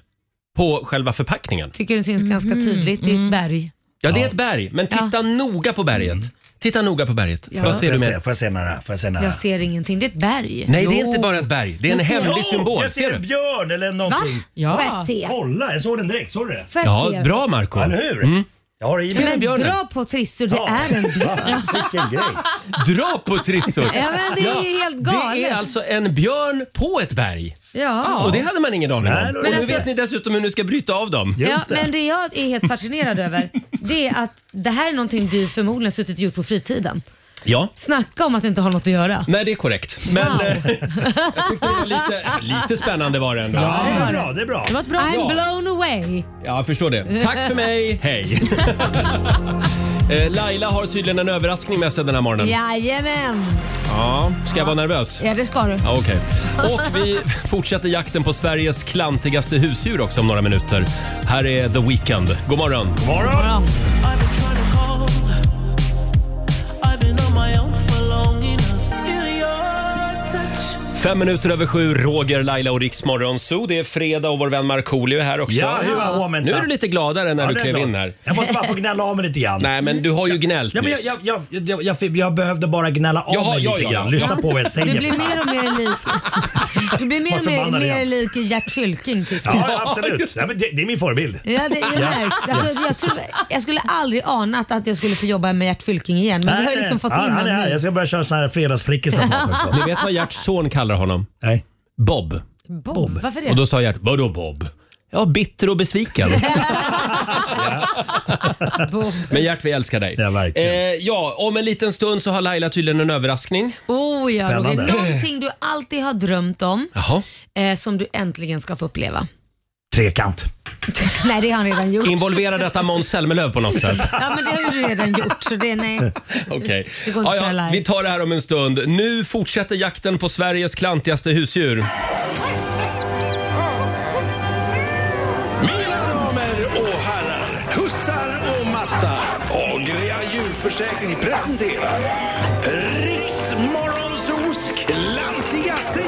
S1: på själva förpackningen.
S2: Tycker den syns ganska tydligt i ett berg.
S1: Ja, det är ett berg, men titta noga på berget. Titta noga på berget.
S2: Ja.
S1: Vad ser
S8: Får
S1: du
S8: jag
S1: med?
S8: se- Får jag se nära? Får jag se nära?
S2: Jag ser ingenting, det är ett berg.
S1: Nej, det är
S2: Jo.
S1: inte bara ett berg. Det är en
S2: Jag ser-
S1: hemlig
S8: Oh,
S1: symbol.
S8: Jag ser
S1: Ser
S8: en
S1: du?
S8: björn eller någonting.
S9: Får
S5: Ja.
S9: jag se?
S8: Kolla, jag såg den direkt. Såg du det?
S9: Får jag
S1: Ja,
S9: se?
S1: bra Marco
S8: Eller hur?
S1: Mm.
S8: Jag har det i
S1: Ser
S8: mig.
S1: du
S2: Men
S1: björnen?
S2: dra på trissor, det
S8: Ja.
S2: är en björn.
S8: Va? Vilken grej.
S1: Dra på trissor!
S2: Ja, men det är ju helt galet.
S1: Det är alltså en björn på ett berg.
S2: Ja. alltså-
S1: Och det hade man ingen aning om.
S8: Nej, det var
S1: och
S8: det
S1: nu
S8: inte.
S1: vet ni dessutom hur ni ska bryta av dem.
S2: Ja,
S8: Just det.
S2: men det jag är helt fascinerad över det är att det här är någonting du förmodligen suttit och gjort på fritiden.
S1: Ja.
S2: Snacka om att inte ha något att göra.
S1: Nej, det är korrekt. Men eh,
S2: Wow.
S1: jag tyckte det var lite, lite spännande var det ändå.
S8: Ja, det
S2: Mm.
S8: är bra. Det är bra.
S5: Det var ett bra
S2: I'm
S1: Ja.
S2: blown away.
S1: Ja, jag förstår det. Tack för mig, hej! Eh, Laila har tydligen en överraskning med sig den här morgonen.
S2: Jajamän.
S1: Ja, Ska jag vara nervös?
S2: Ja, det ska du.
S1: Ja, Okej. Och vi fortsätter jakten på Sveriges klantigaste husdjur också om några minuter. Här är The Weeknd. God morgon!
S8: God morgon.
S1: Fem minuter över sju, Roger, Laila och Riks Morgonzoo. Det är fredag och vår vän Markoolio är här också.
S8: Ja, hur var homen,
S1: Nu är
S8: tack.
S1: du lite gladare när
S8: Ja,
S1: du
S8: det är
S1: klev
S8: bra.
S1: in här.
S8: Jag måste bara få gnälla av mig lite grann.
S1: Nej, men du har ju gnällt
S8: Ja, men jag,
S1: nyss.
S8: jag, jag, jag, jag, jag, jag behövde bara gnälla av
S1: Jaha,
S8: mig
S1: ja,
S8: lite
S1: ja,
S8: grann.
S1: ja.
S8: Lyssna på vad jag
S2: Du
S8: säger.
S2: blir mer och mer lik, du blir mer
S8: Vad
S2: och mer,
S8: förbannad är
S2: mer
S8: jag?
S2: lik Gert Fylking tycker jag.
S8: Ja, ja, absolut. Ja, men det, det är min förebild.
S2: Ja, det, det märks. Alltså, jag, tror, jag skulle aldrig anat att jag skulle få jobba med Gert Fylking igen. Men du har ju liksom fått in
S8: han, han är
S2: honom
S8: här.
S2: nu.
S8: Jag ska börja köra såna här fredagsfrickisar snart också.
S1: Ni vet vad Gerts son kallar honom?
S8: Nej.
S1: Bob.
S2: Bob, varför
S1: Och
S2: det?
S1: då sa Gert, vadå Bob? Ja, bitter och besviken.
S2: Bob.
S1: Men Gert, vi älskar dig.
S8: Ja, verkligen.
S1: Eh, ja, om en liten stund så har Laila tydligen en överraskning.
S2: Oh ja, Roger.
S8: Spännande.
S2: Någonting du alltid har drömt om
S1: Jaha.
S2: eh, som du äntligen ska få uppleva.
S8: Trekant.
S2: Nej, det har han redan gjort.
S1: Involverar detta Måns Zelmerlöw på något sätt?
S2: Ja, men det har du redan gjort. Så det, nej.
S1: Okej.
S2: Det går
S1: Ja,
S2: inte att köra
S1: ja,
S2: live.
S1: vi tar det här om en stund. Nu fortsätter jakten på Sveriges klantigaste husdjur.
S3: Mina damer och herrar, hussar och mattar. Agria djurförsäkring presenterar Riksmorgonsos klantigaste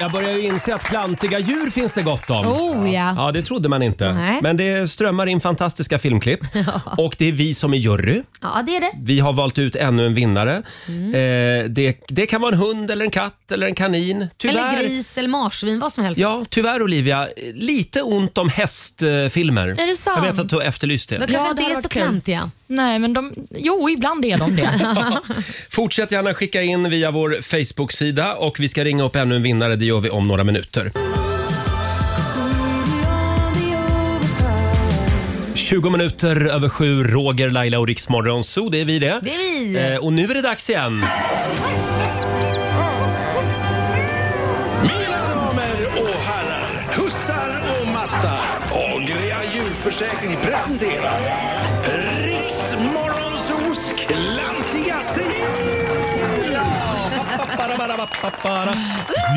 S1: Jag börjar ju inse att klantiga djur finns det gott om.
S2: Oh ja.
S1: Ja, det trodde man inte.
S2: Nej.
S1: Men det strömmar in fantastiska filmklipp. Och det är vi som är jury.
S2: Ja, det är det.
S1: Vi har valt ut ännu en vinnare. Eh, det, det kan vara en hund, eller en katt eller en kanin. Tyvärr,
S2: Eller gris eller marsvin, vad som helst.
S1: Ja, tyvärr Olivia, eh, lite ont om hästfilmer.
S5: Är det sant?
S1: Jag vet att du har efterlyst
S2: De
S1: det.
S2: kanske
S5: Ja,
S2: inte
S5: det
S2: är
S5: hade
S2: så
S5: varit kul.
S2: klantiga.
S5: Nej, men de... Jo, ibland är de det.
S1: Fortsätt gärna skicka in via vår Facebook-sida och vi ska ringa upp ännu en vinnare. Det gör vi om några minuter. 20 minuter över sju, Roger, Laila och Riksmorgon. Så det är vi det.
S2: Det är vi.
S1: Eh, och nu är det dags igen.
S3: Mina damer och herrar, hussar och mattar. Agria djurförsäkring presenterar Riksmorgonsos klantigaste jul.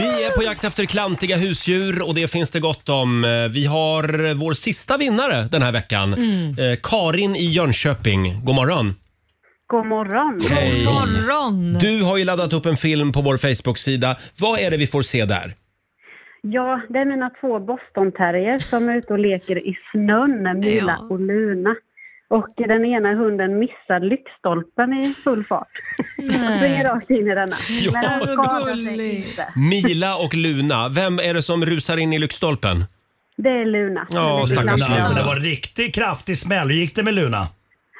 S1: Vi är på jakt efter klantiga husdjur och det finns det gott om. Eh, Vi har vår sista vinnare den här veckan.
S2: Mm.
S1: Eh, Karin i Jönköping. God morgon.
S4: God morgon.
S1: Hej.
S2: Morgon!
S1: Du har ju laddat upp en film på vår Facebook-sida. Vad är det vi får se där?
S4: Ja, det är mina två bostonterrier som är ute och leker i snön, Mila
S2: Ja.
S4: och Luna. Och den ena hunden missar lyktstolpen i full fart. Och springer rakt in i denna.
S1: Ja.
S4: Men den
S2: Så
S4: skadar sig
S2: gullig.
S4: inte.
S1: Mila och Luna, vem är det som rusar in i lyktstolpen?
S4: Det är Luna.
S1: Ja,
S4: Den är
S1: stackars
S4: glatt.
S1: Luna.
S8: Alltså det var riktigt kraftig smäll. Hur gick det med Luna?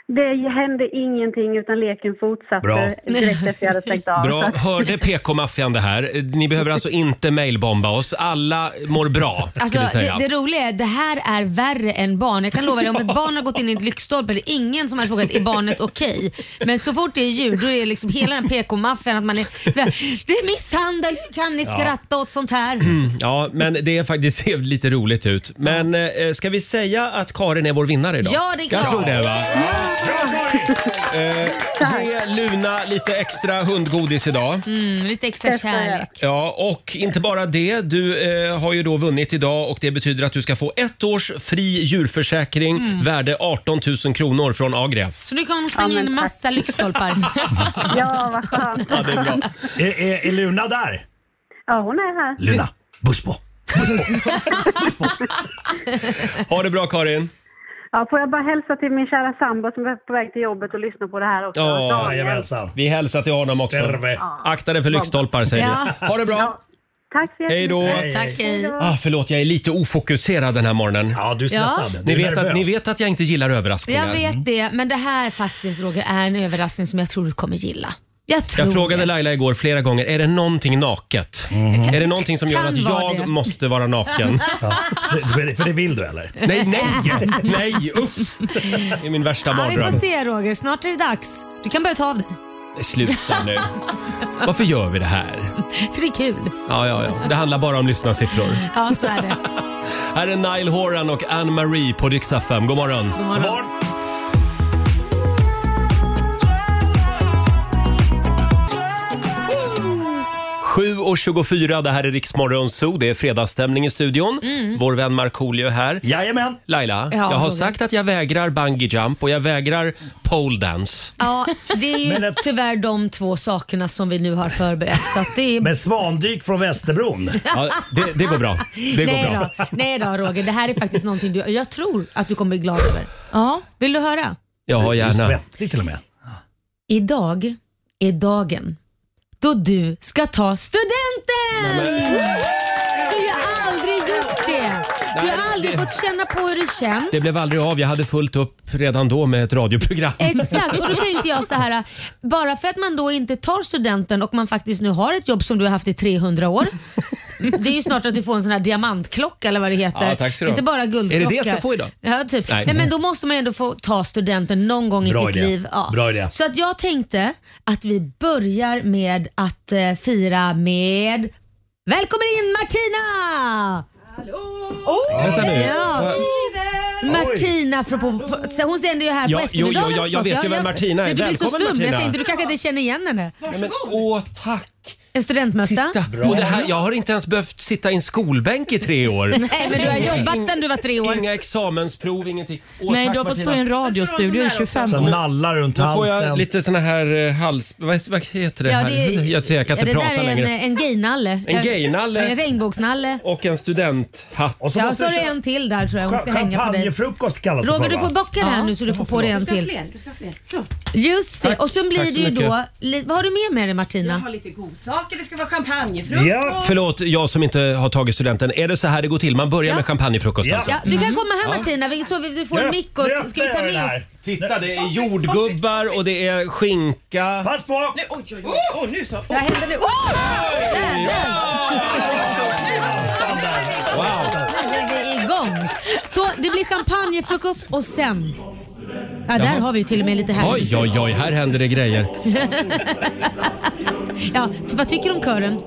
S4: Det hände ingenting utan leken fortsatte
S8: Bra.
S4: direkt efter jag hade stängt av. Så
S1: Bra,
S4: att-
S1: hörde PK-maffian det här? Eh, Ni behöver alltså inte mailbomba oss. Alla mår bra, ska
S2: Alltså,
S1: vi
S2: det,
S1: säga.
S2: det roliga är att det här är värre än barn. Jag kan lova dig, om ett barn har gått in i en lyktstolpe det är ingen som har frågat är barnet okej? Men så fort det är djur då är det liksom hela den PK-maffian att man är det är misshandel, hur kan ni skratta åt sånt här?
S1: Mm, Ja, men det är faktiskt det ser lite roligt ut. Men eh, ska vi säga att Karin är vår vinnare idag?
S2: Ja, det är
S1: Jag
S2: klart.
S1: tror det va? Eh, ge Luna lite extra hundgodis idag.
S2: Mm, lite extra
S4: Testa det.
S2: kärlek.
S1: Ja, och inte bara det. Du eh, har ju då vunnit idag och det betyder att du ska få ett års fri djurförsäkring värde 18 000 kronor från Agria.
S2: Så nu kan hon
S4: Ja,
S2: springa
S4: men
S2: in i
S4: tack.
S2: massa lyktstolpar.
S4: Ja, vad skönt.
S1: Ja, det är bra.
S8: Är, är, är Luna där?
S4: Ja, hon är här.
S8: Luna, buss på.
S1: Ha det bra Karin.
S4: Ja, får jag bara hälsa till min kära sambo som är på väg till jobbet och lyssnar på det här också.
S1: Ja,
S4: Daniel.
S8: Jajamensan.
S1: Vi hälsar till honom också.
S8: Terve.
S1: Akta dig för lyktstolpar säger vi.
S2: Ja.
S1: Ha det bra.
S4: Ja. Tack så
S1: Hej då.
S2: Tack hej.
S1: Ah, förlåt, jag är lite ofokuserad den här morgonen.
S8: Ja, du är stressad. Du
S1: Ni
S8: är
S1: vet, att,
S8: nervös.
S1: ni vet att jag inte gillar överraskningar.
S2: Jag vet det, men det här faktiskt Roger är en överraskning som jag tror du kommer gilla. Jag tror
S1: Jag frågade
S2: det.
S1: Laila igår flera gånger, är det någonting naket? Är det någonting som gör
S2: Kan
S1: att
S2: vara
S1: jag
S2: det.
S1: måste vara naken?
S8: För, för det vill du eller?
S1: Nej, nej, nej, usch! Det är min värsta
S2: Ja, vi får
S1: mardröm.
S2: se Roger, snart är det dags. Du kan börja ta av dig,
S1: Sluta nu. Varför gör vi det här?
S2: för det är kul.
S1: Ja, ja, ja. Det handlar bara om lyssnarsiffror.
S2: Ja, så är det.
S1: Här är Nile Horan och Anne-Marie på Rix FM. God morgon.
S8: Morgon.
S1: Sju och 24, det här är Rix Morgon Zoo. Det är fredagsstämning i studion. Vår vän Markoolio är här.
S8: Jajamän.
S1: Laila,
S2: Mm. Ja,
S1: jag har
S2: Roger.
S1: sagt att jag vägrar bungee jump och jag vägrar pole dance.
S2: Ja, det är ju
S8: Men att-
S2: tyvärr de två sakerna som vi nu har förberett. Så att det är...
S8: Med Svandyk från Västerbron.
S1: Ja, det, det går bra. Det går
S2: Nej
S1: bra.
S2: då, nej då Roger, det här är faktiskt någonting du, jag tror att du kommer bli glad över.
S5: Ja.
S2: Vill du höra?
S1: Ja,
S8: Du är
S1: gärna.
S8: Svettig till och med.
S2: Idag är dagen då du ska ta studenten! Du har aldrig gjort det! Du har aldrig fått känna på hur det känns.
S1: Det blev aldrig av. Jag hade fullt upp redan då med ett radioprogram.
S2: Eh, Exakt, och då tänkte jag så här. Bara för att man då inte tar studenten och man faktiskt nu har ett jobb som du har haft i 300 år. Det är ju snart att du får en sån här diamantklocka eller vad det heter.
S1: Ja, tack ska du ha.
S2: Inte bara guldklocka.
S1: Är det det jag ska få idag?
S2: Ja, typ.
S1: Nej.
S2: Nej. men då måste man ju ändå få ta studenten någon gång
S8: Bra
S2: i sitt
S8: idé.
S2: liv.
S8: Bra idé.
S2: Så att jag tänkte att vi börjar med att eh, fira med Välkommen in Martina!
S1: Vänta nu.
S2: Ja.
S1: Va-
S2: Martina från på, på, så hon sänder ju här
S1: Ja,
S2: på
S1: jo,
S2: eftermiddagen.
S1: jo, jag- jag vet ju vem Martina är.
S2: Du, du blir så
S1: Välkommen,
S2: stum.
S1: Martina.
S2: Jag tänkte du kanske inte känner igen henne.
S1: Nej, men, åh, tack!
S2: En studentmössa.
S1: Titta. Och det här, jag har inte ens behövt sitta i en skolbänk i tre år.
S2: Nej men du har jobbat sedan du var tre år.
S1: Inga examensprov, ingenting. Åh,
S5: Nej,
S1: tack,
S5: du har fått
S1: Martina.
S5: stå i en radiostudio i 25
S8: Så
S5: år.
S8: nallar runt
S1: Nu får
S8: halsen.
S1: jag lite såna här eh, hals... Vad, vad heter det
S2: Ja,
S1: här?
S2: det,
S1: jag, ser, jag kan
S2: ja,
S1: inte
S2: det där
S1: prata
S2: är en,
S1: längre.
S2: en gaynalle.
S1: En gaynalle.
S2: En regnbågsnalle.
S1: Och en studenthatt.
S8: Och så
S2: Ja,
S8: måste
S2: så har
S8: du
S2: du
S8: köra-
S2: en till där tror jag. Hon ska hänga på dig.
S8: Champagnefrukost kallas
S2: Roger
S8: det
S2: du
S8: för
S2: får
S8: va?
S2: bocka det här nu så du får på dig en
S6: Du ska ha
S2: till.
S6: fler, du ska ha fler. Så,
S2: Just det.
S1: Tack.
S2: Och sen blir
S1: Tack
S2: det
S1: så
S2: ju
S1: mycket.
S2: då... li- Vad har du med med dig
S6: jag
S2: Martina?
S6: har lite godsaker, det ska vara champagnefrukost.
S8: Ja,
S1: Förlåt, jag som inte har tagit studenten. Är det så här det går till? Man börjar
S2: Ja.
S1: med champagnefrukost
S8: Ja.
S1: alltså?
S2: Ja, du kan komma här Martina, vi, så vi, du får en mick och
S8: Nu
S2: ska vi ta
S8: öppnar jag
S2: med
S8: den
S2: oss?
S8: här.
S1: Titta, det är jordgubbar och det är skinka.
S8: Pass på!
S6: Nu, oj, oj, oj, oj, nu så.
S2: Vad händer nu? Oh! Där, där.
S1: Wow!
S2: Nu är vi igång. Så det blir champagnefrukost och sen... Ja, där har vi ju till och med lite här.
S1: Oj, oj, oj, här händer det grejer.
S2: Ja, så vad tycker du om kören?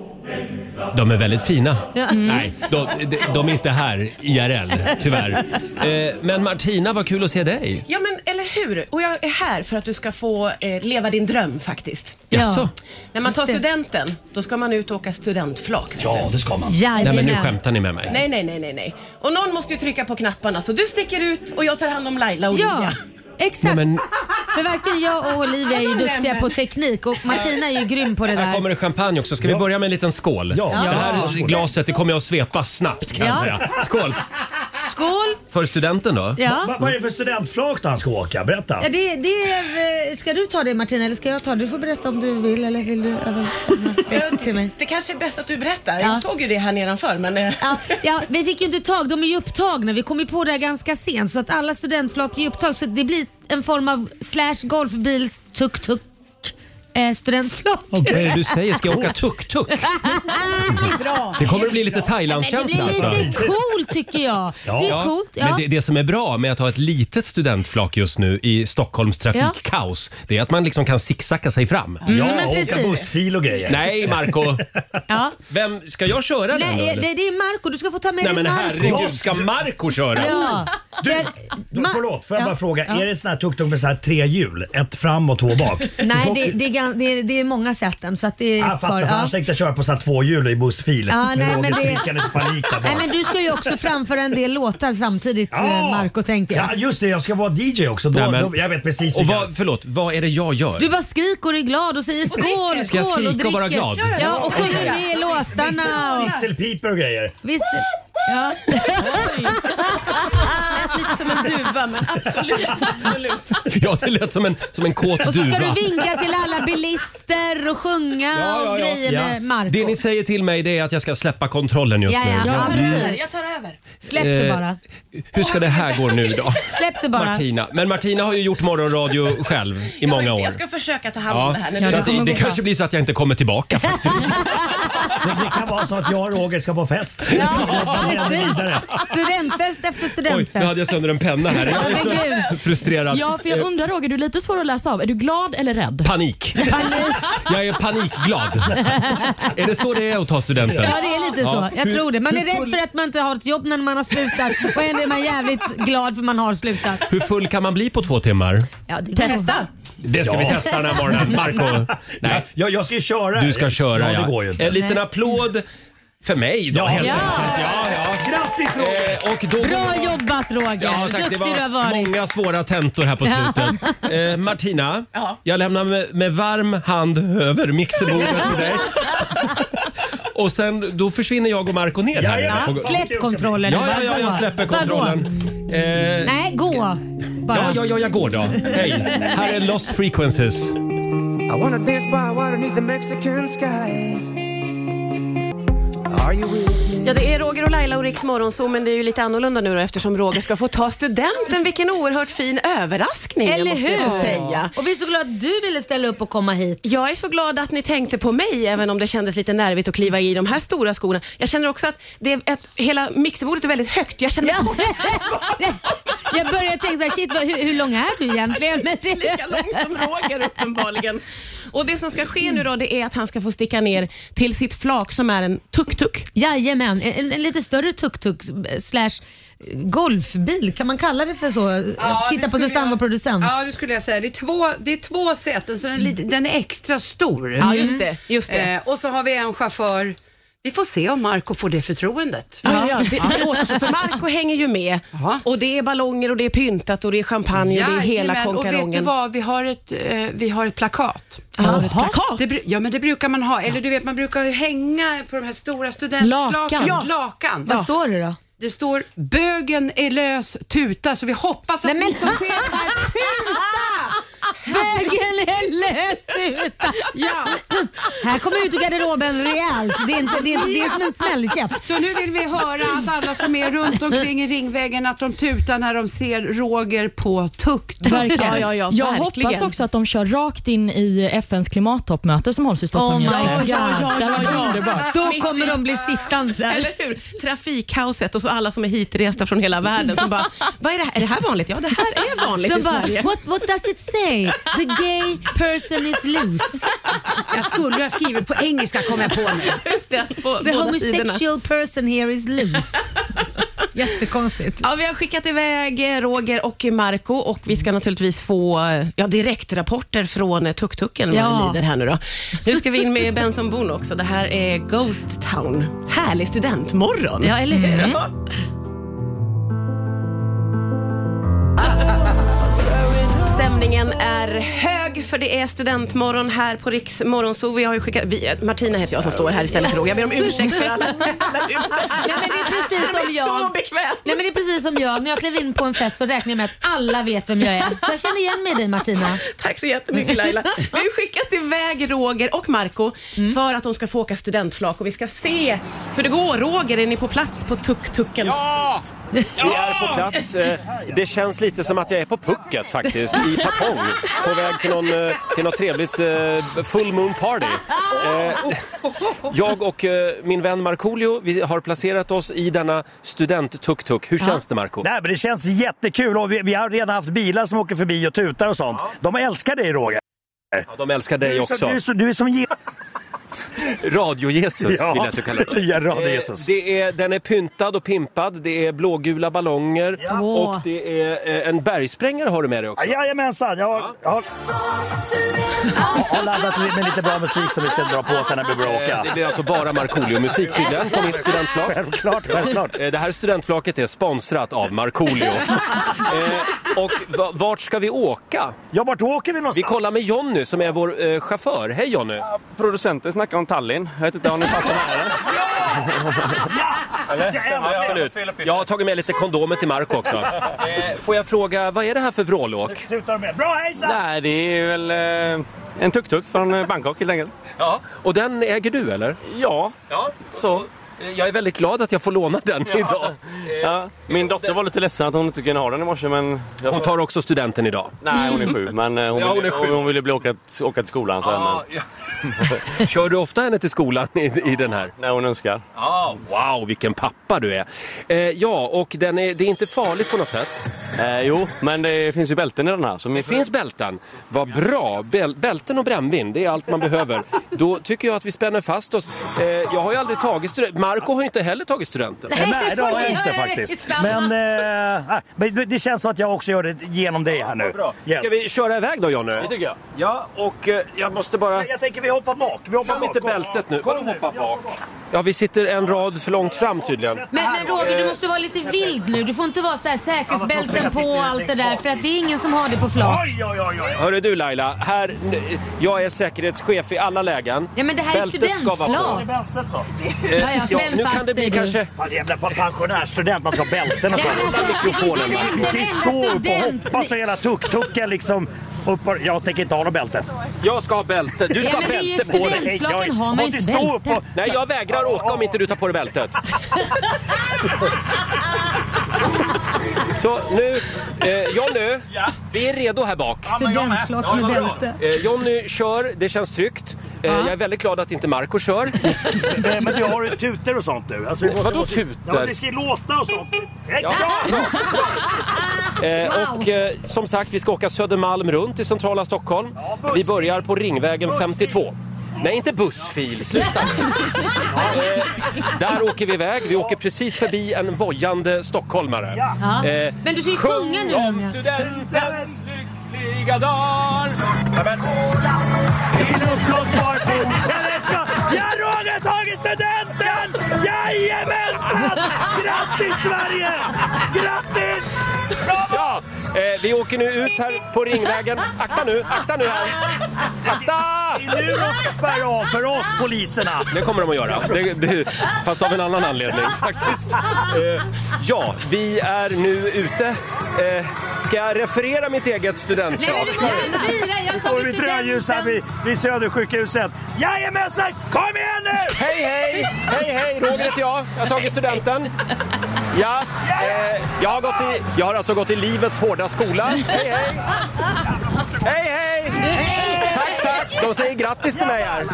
S1: De är väldigt fina.
S2: Ja. Mm.
S1: Nej, de, de, de är inte här IRL, tyvärr. Eh, men Martina, vad kul att se dig.
S6: Ja men eller
S10: tur och jag är här för att du ska få eh, leva din dröm faktiskt.
S1: Jaså?
S10: När man
S2: Just
S10: tar
S2: det.
S10: studenten, då ska man ut och åka studentflak. vet du.
S8: Ja, det ska man.
S1: Nej men nu
S2: Jajamän.
S1: skämtar ni med mig.
S10: Nej, nej, nej, nej, nej. Och någon måste ju trycka på knapparna så du sticker ut och jag tar hand om Laila och
S2: Ja,
S10: Olivia.
S2: exakt.
S1: Nej, men-
S2: För varken jag och Olivia är ju
S10: Ja, de
S2: duktiga
S10: nämner.
S2: på teknik och Martina är ju grym på det
S1: Här kommer det
S2: där.
S1: champagne också. Ska vi börja med en liten skål?
S8: Ja.
S1: Det
S8: Ja.
S1: här glaset det kommer jag att svepa snabbt kan jag
S2: Ja.
S1: säga. Skål!
S2: Skål!
S1: För studenten då?
S2: Ja.
S8: Va, vad är det för studentflak då han ska åka? Berätta.
S2: Ja, det, det är, eh, ska du ta det Martina eller ska jag ta det? Du får berätta om du vill eller vill du överlämna det till mig?
S10: Det kanske är bäst att du berättar.
S2: Ja.
S10: Jag såg ju det här nedanför men... eh,
S2: Ja, ja, vi fick ju inte tag, de är ju upptagna. Vi kom ju på det här ganska sent så att alla studentflak är upptagna så det blir en form av slash golfbils tuk-tuk eh, studentflak.
S1: Vad är det du säger? Ska jag åka tuk-tuk? Det kommer att bli lite
S2: Men det
S1: Thailandskänsla
S2: blir
S1: alltså.
S2: lite coolt tycker jag.
S8: Ja.
S2: Det är
S1: Ja,
S2: coolt. Ja.
S1: Men det, det som är bra med att ha ett litet studentflak just nu i Stockholms trafikkaos, det är att man liksom kan zigzacka sig fram.
S8: ja,
S2: men
S8: åka
S2: precis.
S8: bussfil och grejer.
S1: Nej, Marco
S2: Ja.
S1: Vem, ska jag köra den då,
S2: Nej,
S1: eller?
S2: det, det är Marco. Du ska få ta med
S1: Nej
S2: dig
S1: men
S2: Marco.
S1: herregud, ska Marco köra?
S2: Ja.
S8: Du,
S2: Jag-
S8: du,
S2: Ma-
S8: förlåt, får jag
S2: Ja,
S8: bara fråga.
S2: ja.
S8: Är det sån här tuk-tuk med så här tre hjul? Ett fram och två bak?
S2: Nej, det, det, är, gan- det, är, det är många sätten så att det är
S1: Ah,
S8: Jag fattar,
S2: kvar.
S8: för
S2: Ja.
S8: annars tänkte jag köra på så här två hjul i bussfil.
S2: Ja, nej,
S8: med Roger
S2: men det-
S8: Snickares panik där
S2: Nej,
S8: bak.
S2: men du ska ju också framföra en del låtar samtidigt, eh, Marco tänker jag.
S8: Ja, just det. Jag ska vara DJ också. Då,
S1: Nej, men-
S8: då, jag vet precis
S1: Och
S8: vilka.
S1: vad, förlåt, vad är det jag gör?
S2: Du bara skriker och är glad och säger skål,
S10: dricker.
S1: Ska jag
S2: skål
S1: skrika och vara
S2: dricker.
S1: glad?
S2: Ja, och sjunger med i låtarna. Och,
S8: Visselpipor och grejer.
S2: visst, ja.
S10: Lite som en duva men absolut, absolut.
S1: Ja, det lät som en, som en kåt
S2: och så ska du
S1: duva.
S2: vinka till alla bilister och sjunga och grejer med Marco.
S1: Det ni säger till mig det är att jag ska släppa kontrollen just
S2: Ja,
S1: nu.
S2: ja, ja,
S10: Jag tar
S2: precis.
S10: över, Mm. jag tar över.
S2: Släpp det
S1: Eh,
S2: bara.
S1: Hur ska det här gå nu då?
S2: Släpp det bara.
S1: Martina. Men Martina har ju gjort morgonradio själv i många år.
S10: Jag ska försöka ta hand om
S1: Ja,
S10: det här när
S1: så
S10: du
S1: att det, det kanske blir så att jag inte kommer tillbaka faktiskt.
S8: Det, det kan vara så att jag och Roger ska på fest.
S2: Ja, precis.
S8: vidare.
S2: Studentfest efter
S1: Oj, nu
S2: studentfest.
S1: hade jag sönder en penna här. Jag
S2: Ja, men
S1: är så
S2: gud.
S1: frustrerad.
S5: Ja, för jag
S1: Eh,
S5: undrar Roger, du är lite svår att läsa av. Är du glad eller rädd?
S1: Panik. Jag är panikglad. Är det så det är att ta studenten?
S2: Ja det är lite
S1: Ja.
S2: så. Jag
S1: Hur-
S2: tror det. Man är
S1: hur full-
S2: rädd för att man inte har ett jobb när man har slutat och ändå är man jävligt glad för man har slutat.
S1: Hur full kan man bli på två timmar?
S2: Ja, det går.
S10: Testa.
S1: Det ska
S8: Ja.
S1: vi testa den här morgonen. Marco Nej,
S8: Jag, jag ska ju köra.
S1: du ska köra
S8: ja.
S1: ja.
S8: Det går ju inte.
S1: En liten applåd för mig då
S8: Ja.
S1: helt
S8: Ja.
S1: enkelt. Ja, ja.
S8: Grattis Roger!
S1: Eh, och då
S2: Bra jobbat Roger!
S1: Ja, tack. Det
S2: Duktig du har
S1: var
S2: varit.
S1: många svåra tentor här på
S2: Ja.
S1: slutet. Eh, Martina,
S10: Ja.
S1: jag lämnar med, med varm hand över mixerbordet till dig. Och sen då försvinner jag och Marco ner här.
S8: Jajamän.
S1: Och-
S2: Ja, släpp kontrollen
S1: Ja,
S2: nu.
S1: ja,
S2: Bara
S1: ja,
S2: gå.
S1: jag släpper
S2: Bara gå.
S1: kontrollen. Eh,
S2: Nej, gå bara.
S1: ja, ja, ja, jag går då. Hej. Här är Lost Frequencies.
S7: I wanna dance by water beneath the Mexican sky Are you with me?
S10: Ja, det är Roger och Laila och Riks Morgonzoo, men det är ju lite annorlunda nu då, eftersom Roger ska få ta studenten. Vilken oerhört fin överraskning,
S2: Eller
S10: måste jag
S2: hur?
S10: få säga.
S2: Och vi är så glada att du ville ställa upp och komma hit.
S10: Jag är så glad att ni tänkte på mig, även om det kändes lite nervigt att kliva i de här stora skorna. Jag känner också att det är ett, hela mixerbordet är väldigt högt. Jag känner mig
S2: Ja. Jag började tänka så här, shit vad, hur, hur lång är du egentligen? Men det-
S10: lika lång som Roger uppenbarligen. Och det som ska ske nu då, det är att han ska få sticka ner till sitt flak som är en tuk-tuk.
S2: Jajamän, en, en lite större tuk-tuk slash golfbil, kan man kalla det för så? Titta på Susanne, vår producent.
S6: Ja, det skulle jag säga. Det är två, det är två säten, så den är, lite, den är extra stor.
S10: Ja, just det. Just det.
S6: Eh, och så har vi en chaufför. Vi får se om Marco får det förtroendet.
S10: Ja, ja, det, det återstår, för Marco hänger ju med.
S6: Ja.
S10: Och det är ballonger och det är pyntat och det är champagne och det är hela
S6: Jajamän, och vet du
S10: konkarongen.
S6: vad? Vi har ett, eh, vi har ett plakat.
S2: Jaha.
S6: Det, bru- ja, men det brukar man ha. Eller du vet, man brukar ju hänga på de här stora studentflaken.
S5: Lakan.
S6: Ja. Lakan.
S2: Vad står det då?
S6: Det står bögen är lös, tuta, så vi hoppas att
S2: Nej, men-
S6: ni som ser det här tuta!
S2: Bögen är löst utan...
S6: Ja.
S2: Här kommer ut ur garderoben rejält. Det är, inte, det, är, det är som en smällkäft.
S6: Så nu vill vi höra att alla som är runt omkring i Ringvägen att de tutar när de ser Roger på tukt.
S10: Ja, ja, ja,
S5: jag
S10: verkligen.
S5: hoppas också att de kör rakt in i FNs klimattoppmöte som hålls i
S2: Oh
S5: Stockholm
S2: my
S5: just nu.
S2: God.
S5: Det här var underbart.
S2: Då kommer de bli sittande där.
S10: Eller hur? Trafikkaoset och så alla som är hitresta från hela världen som bara, vad är det här? Är det här vanligt? Ja, det här är vanligt
S2: De
S10: i
S2: bara,
S10: Sverige.
S2: what, what does it say? The gay person is loose.
S6: Jag skulle ha skrivit på engelska kom jag på nu.
S10: Just det, på
S2: The
S10: båda sidorna.
S2: homosexual person here is loose.
S10: Jättekonstigt. Ja, vi har skickat iväg eh, Roger och Marco och vi ska naturligtvis få eh, ja, direktrapporter från eh, tuk-tuken vad
S6: Ja.
S10: det lider här nu då. Nu ska vi in med Benson Boone också. Det här är Ghost Town. Härlig studentmorgon.
S2: Ja, eller hur?
S5: Mm.
S10: Ja. Stämningen är hög för det är studentmorgon här på Riks Morgonzoo. Vi har ju skickat, vi, Martina heter jag som står här istället för Roger. Jag ber om ursäkt för alla.
S2: Nej, men det är precis
S10: Han är
S2: som jag.
S10: så bekväm.
S2: Nej, men det är precis som jag. När jag klev in på en fest så räknade jag med att alla vet vem jag är. Så jag känner igen mig i dig Martina.
S10: Tack så jättemycket Laila. Vi har ju skickat iväg Roger och Marco för att de ska få åka studentflak och vi ska se hur det går. Roger, är ni på plats på tuk-tuken? Ja!
S1: Ah! Vi är på plats. Eh, Det känns lite som att jag är på pucket faktiskt, i Patong. På väg till, någon, eh, till något trevligt eh, full moon party. Eh, Jag och eh, min vän Markoolio, vi har placerat oss i denna student-tuk-tuk. Hur känns det Marco?
S8: Nej, men det känns jättekul och vi, vi har redan haft bilar som åker förbi och tutar och sånt. De älskar dig Roger.
S1: Ja, de älskar dig
S8: du är
S1: också.
S8: Som, du, är som, du är som ge-
S1: Radio-Jesus
S8: Ja.
S1: vill jag att du kallar det.
S8: Ja, Radio
S1: Eh,
S8: Jesus.
S1: Det är, den är pyntad och pimpad, det är blågula ballonger
S8: Ja.
S1: och det är eh, en bergsprängare har du med dig också.
S8: Ja, Jajamensan, jag har, jag har, jag har laddat med lite bra musik som vi ska dra på sen när vi börjar
S1: Eh,
S8: åka.
S1: Det blir alltså bara Markoolio-musik tydligen på mitt studentflak.
S8: Självklart, självklart.
S1: Eh, Det här studentflaket är sponsrat av Markoolio. Eh, Och va- vart ska vi åka?
S8: Ja, vart åker vi någonstans?
S1: Vi kollar med Jonny som är vår eh, chaufför. Hej Jonny!
S11: Producenten snackar om Tallinn. Jag vet inte om ni passar
S1: Eller?
S11: älskar
S1: Absolut. Jag har tagit med lite kondomer till Marco också. Eh, Får jag fråga, vad är det här för vrålåk?
S8: Tutar de med. Bra, hejsan!
S11: Nej, det är väl eh, en tuk-tuk från eh, Bangkok helt enkelt.
S1: Ja, och den äger du eller?
S11: Ja.
S1: Ja, så. Jag är väldigt glad att jag får låna den idag.
S11: Ja. Min dotter var lite ledsen att hon inte kunde ha den i morse men... Jag
S1: Hon tar också studenten idag.
S11: Nej, hon är sju men eh, hon,
S1: Ja, hon
S11: ville,
S1: är sju.
S11: hon ville bli åka, åka till skolan sen. eh,
S1: Ja,
S11: men...
S1: Kör du ofta henne till skolan i, i den här?
S11: När hon önskar.
S1: Ah, wow, vilken pappa du är! Eh, ja, och den är, det är inte farligt på något sätt.
S11: Eh, jo, men det finns ju bälten i den här. Så
S1: Det finns bälten. Vad bra! Bäl, bälten och brännvin, det är allt man behöver. Då tycker jag att vi spänner fast oss. Eh, jag har ju aldrig tagit studenten. Marco har ju inte heller tagit studenten.
S8: Nej, det har jag inte faktiskt. Men, eh, ah, men det- det känns som att jag också gör det genom dig här nu.
S1: Bra.
S8: Yes.
S1: Ska vi köra iväg då, Jonny?
S8: Det
S11: tycker jag.
S1: Ja, och eh, jag måste bara...
S8: Jag tänker vi hoppar bak. Vi hoppar
S1: Glöm inte
S8: bak.
S1: bältet nu.
S8: Kom
S1: Vadå hoppa bak? Ja, vi sitter en rad för långt fram tydligen.
S2: Men, men Roger, du måste vara lite vild nu. Du får inte vara så här säkerhetsbälten på och allt det där för att det är ingen som har det på flak.
S8: Oj, oj, oj, oj.
S1: Hörru du Laila, här, jag är säkerhetschef i alla lägen.
S2: Ja, men det här är
S1: Bältet ska vara på.
S2: studentflak.
S1: Eh,
S2: Ja, ja, spänn
S1: nu
S2: fast
S1: kan det bli
S2: dig du.
S1: kanske...
S8: Fan, jävla pensionärsstudent, man ska ha bälten och
S2: Ja, men alltså, det finns ju
S8: mikrofonen.
S2: studenter,
S8: Vi står
S2: varenda
S8: upp och
S2: student.
S8: hoppas och hela tuk-tuken liksom. Upp, jag tänker inte ha något bälte.
S1: Jag ska ha bälte. Du ska
S2: Ja,
S1: ha
S2: men det är ju
S1: bälte på dig.
S2: studentflaken,
S8: Jag-
S2: har man ju
S8: måste
S2: inte
S8: stå upp
S2: bälte.
S8: och-
S1: Nej, jag vägrar åka om inte du tar på dig bältet. Så nu, eh, Jonny, vi är redo här bak.
S2: Studentflak med bälte.
S1: Eh, Jonny kör, det känns tryggt. Eh, jag är väldigt glad att inte Marco kör.
S8: Eh, Men du har ju tutor och sånt nu. Alltså, vi måste-
S1: Vadå
S8: måste-
S1: tutor?
S8: Ja, men det ska ju låta och sånt.
S1: Ja,
S8: Exakt.
S1: Eh, och eh, som sagt, vi ska åka Södermalm runt i centrala Stockholm. vi börjar på Ringvägen 52. Nej, inte bussfil. Sluta nu. eh, Där åker vi iväg. Vi åker precis förbi en vojande stockholmare.
S2: Ja.
S1: Eh,
S2: Men du ska ju sjunga nu.
S1: Sjung om
S2: Ronja.
S1: studentens lyckliga dagar. Ja, men-
S8: En uppblåsbar pool. Eller ska... Jag har Roger tagit studenten! Jajamensan! Grattis Sverige! Grattis!
S1: Ja, eh, vi åker nu ut här på Ringvägen. Akta nu, akta nu här. Akta!
S8: Det är nu de ska spärra av för oss poliserna.
S1: Det kommer de att göra. Det, det, fast av en annan anledning faktiskt. Eh, ja, vi är nu ute. Eh, ska jag referera mitt eget
S2: Nej, men
S1: studentflak?
S2: du måste fira. Jag
S8: Står
S2: tar
S8: vi vid rödljus här
S2: studenten.
S8: vid, vid Södersjukhuset. Jajamensan! Kom igen nu!
S1: Hej, hej! Hej, hej! Roger heter jag. Jag har tagit studenten. Ja, eh, jag, har gått i, jag har alltså gått i livets hårda skola. Hej, hej! Hej, hej! Tack, tack! De säger grattis till mig här.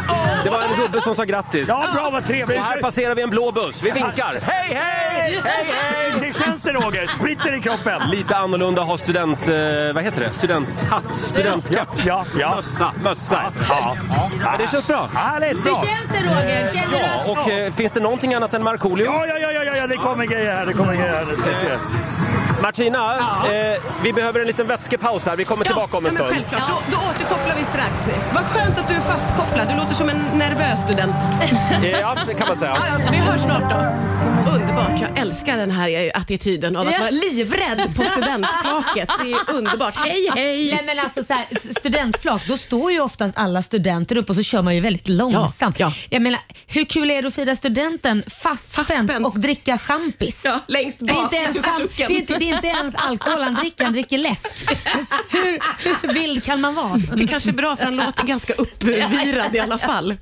S1: Det var en gubbe som sa grattis.
S8: Ja, bra, vad
S1: Och
S8: trevligt.
S1: här passerar vi en blå buss. Vi vinkar. Hej, hej! Hej, hej!
S8: Hur känns det då? Roger, spritter i kroppen.
S1: Lite annorlunda har student... Eh, vad heter det? Studenthatt? Studentkapp?
S8: Ja, ja.
S1: Mössa. Mössa.
S8: Ja.
S1: Ja, det känns bra.
S8: Härligt, bra. Hur känns det, Roger? Känner du att-
S1: ja, och, eh, Finns det någonting annat än Markoolio?
S8: Ja, ja, ja, ja, ja, det kommer grejer här. Det kommer grejer här. Nu ska vi se.
S1: Martina, eh, vi behöver en liten vätskepaus här. Vi kommer tillbaka om en
S10: ja, men
S1: stund.
S10: självklart. Då, då återkopplar vi strax. Vad skönt att du är fastkopplad. Du låter som en nervös student.
S1: Eh, Ja, det kan man säga.
S10: Ja, ja, vi hörs snart då. Underbart. Jag älskar den här attityden av att vara livrädd på studentflaket. Det är underbart. Hej, hej!
S2: Nej, men alltså, så här, studentflak, då står ju oftast alla studenter upp och så kör man ju väldigt långsamt. Jag menar, hur kul är det att fira studenten fastspänd, och dricka champis?
S10: längst
S2: Det är,
S10: bak
S2: inte ens
S10: i
S2: champ- det,
S10: tuk-tuken.
S2: är inte, det är inte ens alkohol han dricker, han dricker läsk. Hur, hur vild kan man vara?
S10: Det kanske är bra för han låter ganska uppvirad i alla fall.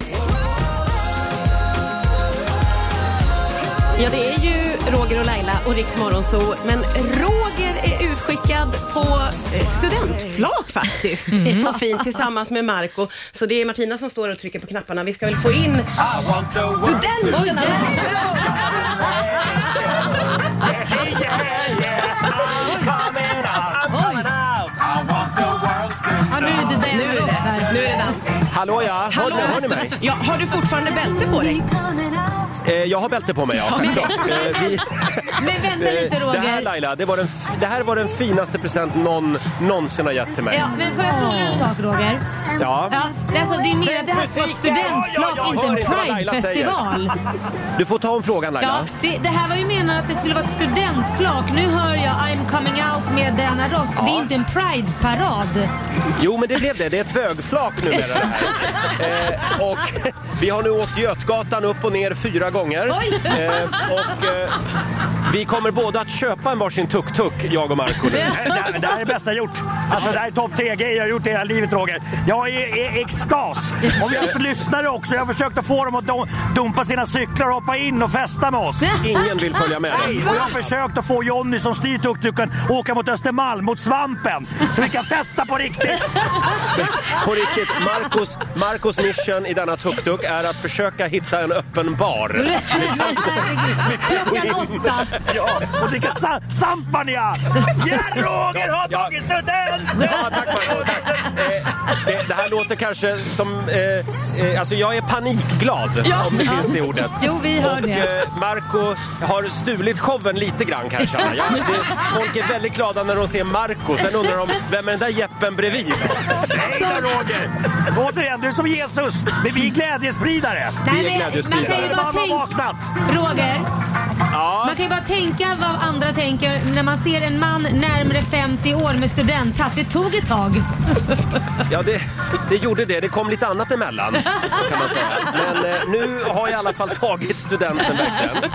S10: Ja, det är ju Roger och Laila och Riks Morgonzoo, men Roger är utskickad på eh, studentflak faktiskt.
S5: Mm.
S10: Det är så fint tillsammans med Marco. Så det är Martina som står och trycker på knapparna. Vi ska väl få in studenterna!
S2: nu är det
S10: dans. Nu är det, nu är det dans.
S1: Hallå ja, hör,
S10: Hallå.
S1: hör ni mig?
S10: Ja, har du fortfarande bälte på dig?
S1: Eh, jag har bälte på mig ja. Bra. Eh, vi,
S2: Men vänta
S1: eh,
S2: lite Roger.
S1: Det här Laila, det, var den, det här var den finaste present någon någonsin har gett till mig.
S2: Ja, men får jag fråga en sak Roger?
S1: Ja.
S2: Ja, det, är alltså, det är mer att det här ska vara ett studentflak, inte
S1: Hör
S2: en
S1: ni vad Laila
S2: pridefestival.
S1: säger? Du får ta om frågan
S2: Ja,
S1: Laila.
S2: det, det här var ju menat att det skulle vara ett studentflak. Nu hör jag I'm coming out med Diana Ross. Det är inte en prideparad.
S1: Jo men det blev det, det är ett bögflak numera det här. Eh, och vi har nu åkt Götgatan upp och ner fyra gånger.
S2: Oj.
S1: Eh, och eh, vi kommer båda att köpa en varsin tuk-tuk, jag och Marco
S8: Det
S1: nu.
S8: här, det här är det bästa jag gjort. Alltså, det här är topp tre grejer jag har gjort i hela livet, Roger. Jag är i extas. Och vi har haft lyssnare också. Jag har försökt att få dem att dom- dumpa sina cyklar och hoppa in och festa med oss.
S1: Ingen vill följa med.
S8: Nej, och jag har försökt att få Jonny som styr tuk-tuken att åka mot Östermalm, mot svampen. Så vi kan festa på riktigt.
S1: På riktigt, Marcos, Marcos mission i denna tuk-tuk är att försöka hitta en öppen bar.
S2: Klockan åtta.
S8: Ja, och dricka sa- Sampania! Ja, Roger har tagit studenten!
S1: Ja, tack Marco. Eh, Det, det här låter kanske som... Eh, eh, alltså jag är panikglad,
S2: Ja.
S1: om det
S2: Ja.
S1: finns det ordet.
S2: Jo, vi hör
S1: och,
S2: det.
S1: Eh, Marco har stulit showen lite grann kanske. Ja, det, folk är väldigt glada när de ser Marco. Sen undrar de, vem är den där jeppen bredvid?
S8: Hej då Roger! Återigen, du är som Jesus. Vi- Vi är glädjespridare.
S1: Vi är
S2: Nej, men man kan
S1: glädjespridare.
S2: ju bara
S8: Man har
S2: tänka...
S8: vaknat.
S2: Roger,
S1: Ja.
S2: man kan ju bara tänka vad andra tänker när man ser en man närmare 50 år med studenthatt. Det tog ett tag.
S1: Ja, det, det gjorde det. Det kom lite annat emellan, kan man säga. Men eh, nu har jag i alla fall tagit studenten verkligen.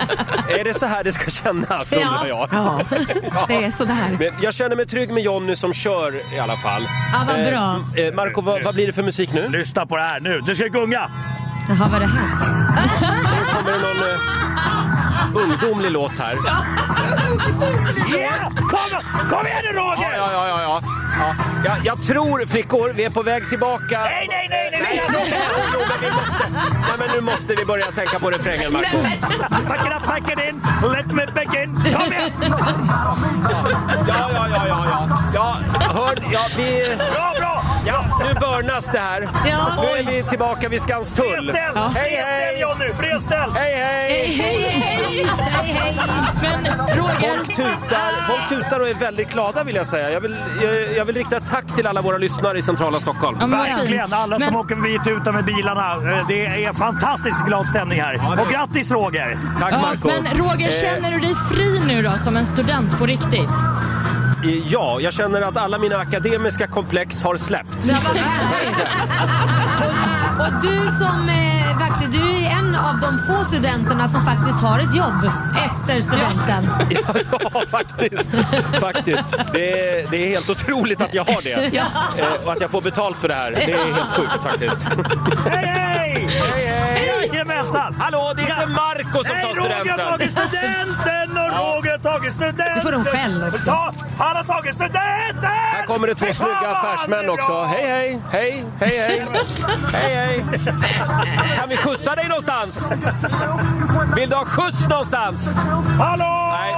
S1: Är det så här det ska kännas,
S2: Ja.
S1: undrar jag.
S10: Ja, det är sådär.
S1: Men jag känner mig trygg med Jonny som kör i alla fall.
S2: Ja, vad
S1: Eh,
S2: bra.
S1: m- Eh, Marco, vad, vad blir det för musik nu?
S8: Lyssna på det här nu. Du ska gunga.
S2: Jaha, vad är det här?
S1: Kommer det någon eh, ungdomlig låt här? Ja,
S8: Yeah! Kom, kom igen nu
S1: ja,
S8: Roger!
S1: ja, ja. ja. ja. Jag, jag tror, flickor, vi är på väg tillbaka.
S8: Nej, nej, nej, nej! nej.
S1: Jo, men vi måste, nej men nu måste vi börja tänka på refrängen, Marco.
S8: Pack it up, pack it in. Let me begin. Kom igen!
S1: Ja, ja, ja, ja, ja. ja hör, ja, vi...
S8: Bra, bra!
S1: Ja, nu börnas det här.
S2: Ja.
S1: Nu är vi tillbaka vid Skanstull.
S8: Bredställ!
S1: Hej,
S8: Bredställ
S1: hej!
S8: Johnny! Bredställ!
S1: Hej, hej!
S2: Hej, hej! hej, hej.
S5: Men Roger,
S1: Folk tutar, folk tutar och är väldigt glada vill jag säga. Jag vill, jag, jag vill rikta ett tack till alla våra lyssnare i centrala Stockholm.
S5: Ja, men vad fint.
S8: Verkligen! Alla som
S5: Men-
S8: åker förbi tutar med bilarna. Eh, Det är fantastiskt glad stämning här.
S1: det-
S8: Och grattis Roger!
S1: Tack
S5: Ja,
S1: Marco.
S5: men Roger,
S1: Eh,
S5: känner du dig fri nu då som en student på riktigt?
S1: eh, Ja, jag känner att alla mina akademiska komplex har släppt.
S2: Ja, vad härligt. Och, och du som eh, faktiskt, du är en av de få studenterna som faktiskt har ett jobb efter studenten.
S1: Ja, ja faktiskt. faktiskt. Det, är, det är helt otroligt att jag har det. Eh, Och att jag får betalt för det här. Det är helt sjukt faktiskt.
S8: Hej, hej! Jajamensan!
S1: Hallå, det är inte Marco som
S8: Hej,
S1: tar
S8: Roger har
S1: studenten.
S8: tagit studenten och Roger har tagit studenten!
S2: Det får de själv också.
S8: Ta, han har tagit studenten!
S1: Här kommer det två snygga affärsmän också. Hej, hej, hej, hej, hej. Hej, hej. Kan vi skjutsa dig någonstans? Vill du ha skjuts någonstans?
S8: Hallå!
S1: Nej.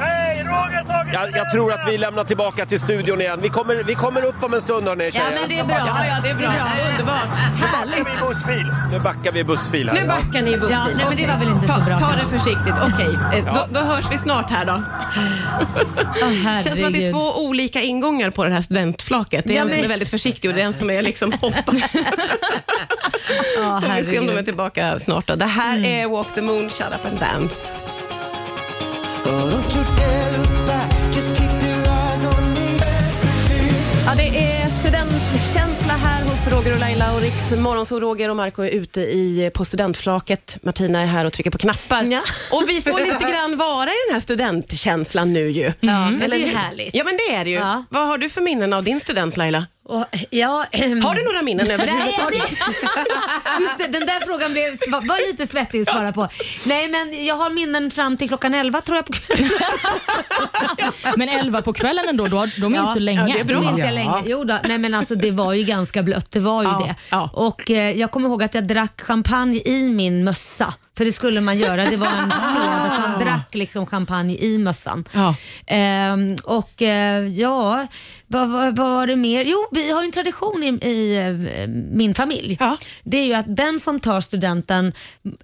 S8: Hej, Roger
S11: Jag, jag tror att vi lämnar tillbaka till studion igen. Vi kommer, vi kommer upp om en stund hörni
S6: Ja, men det är bra. Ja, ja, det är bra. Det är underbart. Härligt.
S11: Nu backar vi i bussfil här.
S10: Nu backar ni i bussbil.
S2: Ja, nej, men det var väl inte
S10: ta,
S2: så bra.
S10: Ta det försiktigt. Okej, eh,
S11: Ja.
S10: då, då hörs vi snart här då. känns som att det är
S2: herregud.
S10: två olika ingångar på det här studentflaket. Det är
S2: Ja,
S10: en som
S2: men-
S10: är väldigt försiktig och det är en som är liksom hoppar.
S2: Ja,
S10: Får vi se om de är
S2: herregud. Mm.
S10: tillbaka snart då. Det här är Walk the Moon, Shut Up and Dance. Ja, det är studentkänsla här hos Roger och Laila och Riks Morgonzoo. Roger och Marco är ute i, på studentflaket. Martina är här och trycker på knappar. Och vi får lite grann vara i den här studentkänslan nu ju.
S2: Ja, men det är ju
S10: hur?
S2: härligt.
S10: Ja, men det är det ju.
S2: Mm. Ja.
S10: Vad har du för minnen av din student Laila?
S2: Och, ja, ehm.
S10: Har du några minnen överhuvudtaget?
S2: Nej, det- Just det, den där frågan blev, var, var lite svettig att svara på. Nej, men jag har minnen fram till klockan 11 tror jag. På
S5: Men 11 på kvällen ändå, då, då minns du länge.
S2: Minns jag länge. Jo då. Nej, men alltså, det var ju ganska blött, det var ju det. Och eh, jag kommer ihåg att jag drack champagne i min mössa. För det skulle man göra, det var en sed att man drack liksom champagne i mössan. Ehm, och eh, ja, vad, vad, vad var det mer? Jo, vi har ju en tradition i, i eh, min familj. Det är ju att den som tar studenten,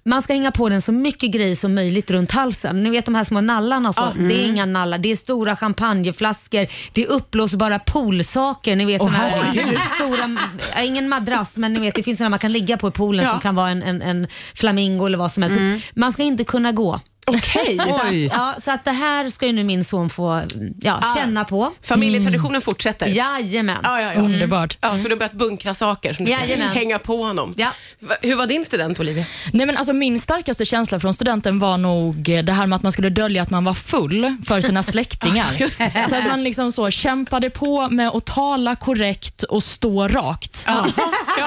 S2: man ska hänga på den så mycket grejer som möjligt runt halsen. Ni vet de här små nallarna och så.
S9: Ja.
S2: Det är
S9: Mm.
S2: inga nallar, det är stora champagneflaskor, det är uppblåsbara poolsaker. Ni vet, såna här
S9: herregud.
S2: stora, ja, ingen madrass, men ni vet det finns sådana man kan ligga på i poolen som kan vara en, en, en flamingo eller vad som helst.
S9: Mm.
S2: Så Man ska inte kunna gå.
S10: Okej.
S2: Så, att-
S10: Oj.
S2: ja, så att det här ska ju nu min son få ja,
S10: Ah.
S2: känna på.
S10: Familjetraditionen fortsätter.
S2: Jajamän.
S10: Ja, ja, ja.
S2: Mm.
S10: Ja, så du har börjat bunkra saker som du ska
S5: Jajamän.
S10: hänga på honom. Va- Hur var din student Olivia?
S5: Nej, men alltså, min starkaste känsla från studenten var nog eh, det här med att man skulle dölja att man var full för sina släktingar.
S9: Just det.
S5: så att man liksom så kämpade på med att tala korrekt och stå rakt.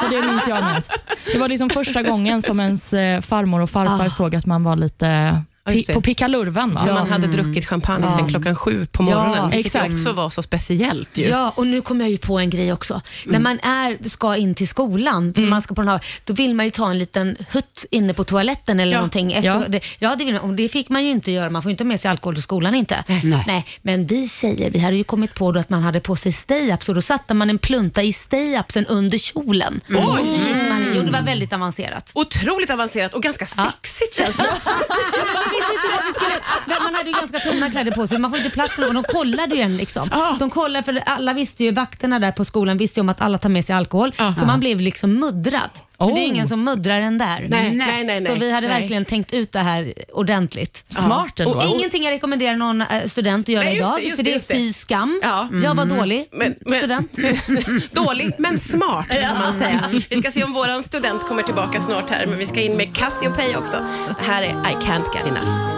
S5: Så det minns jag mest. Det var liksom första gången som ens eh, farmor och farfar
S10: Ah.
S5: såg att man var lite
S10: Ja,
S5: pi-
S10: just det.
S5: på pickalurven. va?
S10: Ja. Man hade druckit champagne sen
S5: Ja.
S10: klockan sju på morgonen,
S5: Ja,
S10: vilket
S5: exakt.
S10: också var så speciellt. Ju.
S2: Ja, och nu kommer jag ju på en grej också.
S10: Mm.
S2: När man är, ska in till skolan, man ska på den här, då vill man ju ta en liten hutt inne på toaletten eller
S9: Ja.
S2: någonting. Efter,
S9: Ja.
S2: ja. Det, ja, det vill man. Och det fick man ju inte göra. Man får ju inte ha med sig alkohol till skolan inte. Nej. Men vi tjejer, vi hade ju kommit på då att man hade på sig stay-ups och då satte man en plunta i stay-upsen under kjolen.
S10: Mm. Oj!
S2: Och så gick man, jo, det var väldigt avancerat.
S10: Otroligt avancerat och ganska sexigt känns det också.
S2: Man visste inte vad vi skulle... men Man hade ju ganska tunna kläder på sig, man får inte plats med någon. De kollade ju en liksom. De kollade, för alla visste ju, vakterna där på skolan visste ju om att alla tar med sig alkohol. Så man blev liksom muddrad. Men det är
S5: Oh.
S2: ingen som muddrar en där.
S5: Nej, nej, nej,
S2: Så
S5: nej.
S2: vi hade
S5: Nej.
S2: verkligen tänkt ut det här ordentligt.
S5: Smart
S2: Ja.
S5: ändå.
S2: Och ingenting jag rekommenderar någon eh, student att göra
S10: Nej, just
S2: idag,
S10: det, just
S2: för
S10: det,
S2: det är
S10: just det.
S2: fy skam. Jag var
S10: Mm.
S2: dålig
S10: Men- men-
S2: student.
S10: Dålig men smart kan man
S2: Ja.
S10: säga. Vi ska se om våran student kommer tillbaka snart här, men vi ska in med Cassiopeia också. Det här är I can't get enough.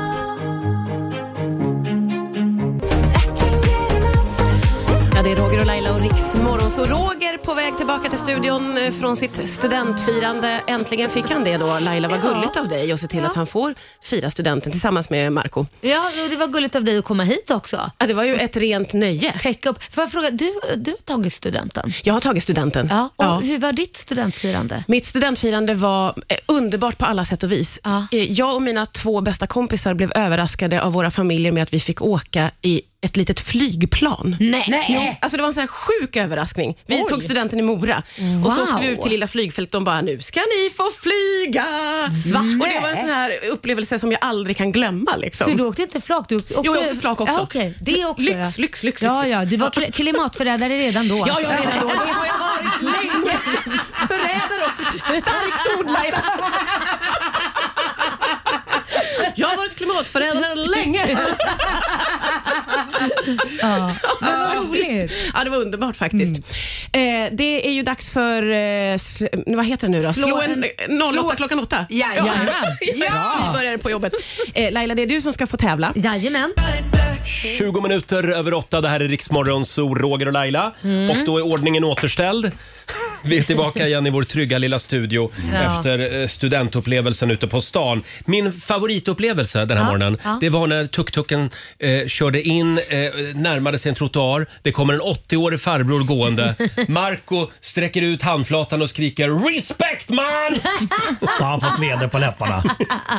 S10: Ja, det är Roger och Laila och Riksmorgon. Så Roger på väg tillbaka till studion eh, från sitt studentfirande. Äntligen fick han det då. Laila, vad
S2: Ja.
S10: gulligt av dig att se till
S2: Ja.
S10: att han får fira studenten tillsammans med Marco.
S2: Ja, och det var gulligt av dig att komma hit också.
S10: Ja, det var ju ett rent nöje.
S2: Täcka upp. Får jag fråga, du, du har tagit studenten?
S10: Jag har tagit studenten.
S2: Ja, och hur var ditt studentfirande?
S10: Mitt studentfirande var eh, underbart på alla sätt och vis. Eh, Jag och mina två bästa kompisar blev överraskade av våra familjer med att vi fick åka i ett litet flygplan.
S2: Nej.
S10: Jo, alltså det var en sån här sjuk överraskning. Vi
S9: Oj.
S10: tog studenten i Mora och så
S9: Wow.
S10: åkte vi ut till lilla flygfältet och de bara, nu ska ni få flyga.
S9: Va?
S10: Och det var en sån här upplevelse som jag aldrig kan glömma. Liksom.
S2: Så du åkte inte flak? Du åkte,
S10: Jo, jag åkte flak också.
S2: Ja, okej. Det också
S10: lyx,
S2: ja.
S10: lyx, lyx, lyx.
S2: Ja,
S10: lyx.
S2: ja. Du var kli- klimatförrädare redan då. Alltså,
S10: Ja, ja, redan då. Det har jag varit länge. Förrädare också. Starkt ord Laila. Jag har varit klimatförrädare länge.
S9: Ja,
S10: men vad roligt. Ja, det var underbart faktiskt. Eh, det är ju dags för, eh, sl- vad heter det nu då?
S9: Slå
S10: Slå,
S9: en-
S10: en, 08
S9: slå-
S10: klockan 8.
S9: Ja, jajamän.
S10: ja. Vi börjar på jobbet. Eh, Laila, det är du som ska få tävla.
S2: Jajamän.
S1: 20 minuter över åtta, det här är Riksmorgon, så Roger och Laila.
S2: Mm.
S1: Och då är ordningen återställd. Vi är tillbaka igen i vår trygga lilla studio
S12: Ja.
S1: efter eh, studentupplevelsen ute på stan. Min favoritupplevelse den här
S12: Ja,
S1: morgonen,
S12: ja.
S1: det var när tuk-tuken eh, körde in, eh, närmade sig en trottoar. Det kommer en 80-årig farbror gående. Marco sträcker ut handflatan och skriker “Respect man!”
S8: Ja, han har fått leder på läpparna.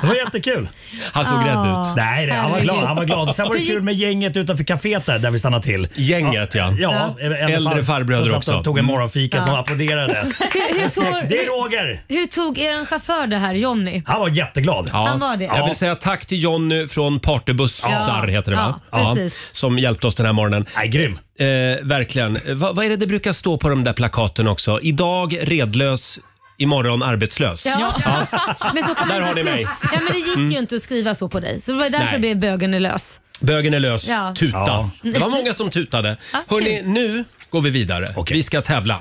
S8: Det var jättekul.
S1: Han såg rädd ut.
S8: Nej, nej, han var glad. Han var glad. Sen var det
S1: Hur
S8: kul med gänget utanför kaféet där, där vi stannade till.
S1: Gänget, ja.
S8: ja.
S1: Ja. Äldre farbröder
S8: som satt
S1: också.
S8: och tog en
S1: Mm.
S8: morgonfika som
S2: Ja.
S8: applåderade.
S2: Hur, hur, tog,
S8: Det är Roger!
S2: hur tog er chaufför det här, Jonny?
S8: Han var jätteglad.
S1: Ja.
S2: Han var det.
S1: Jag vill säga tack till Jonny från Partybussar
S2: Ja.
S1: heter det va?
S2: Ja, precis.
S1: som hjälpte oss den här morgonen.
S8: Nej, grym.
S1: Eh, verkligen. Eh, Vad vad är det det brukar stå på de där plakaten också? Idag redlös, imorgon arbetslös.
S2: Ja. Men så kan man
S1: Där har
S2: inte
S1: ni
S2: skriva-
S1: mig.
S2: Ja, men det gick
S1: Mm.
S2: ju inte att skriva så på dig. Så det var därför
S1: Nej.
S2: det blev bögen är lös.
S1: Bögen är lös,
S2: Ja.
S1: tuta.
S2: Ja.
S1: Det var många som tutade.
S2: Ja,
S1: Hörni,
S2: kul.
S1: nu går vi vidare. Vi ska tävla.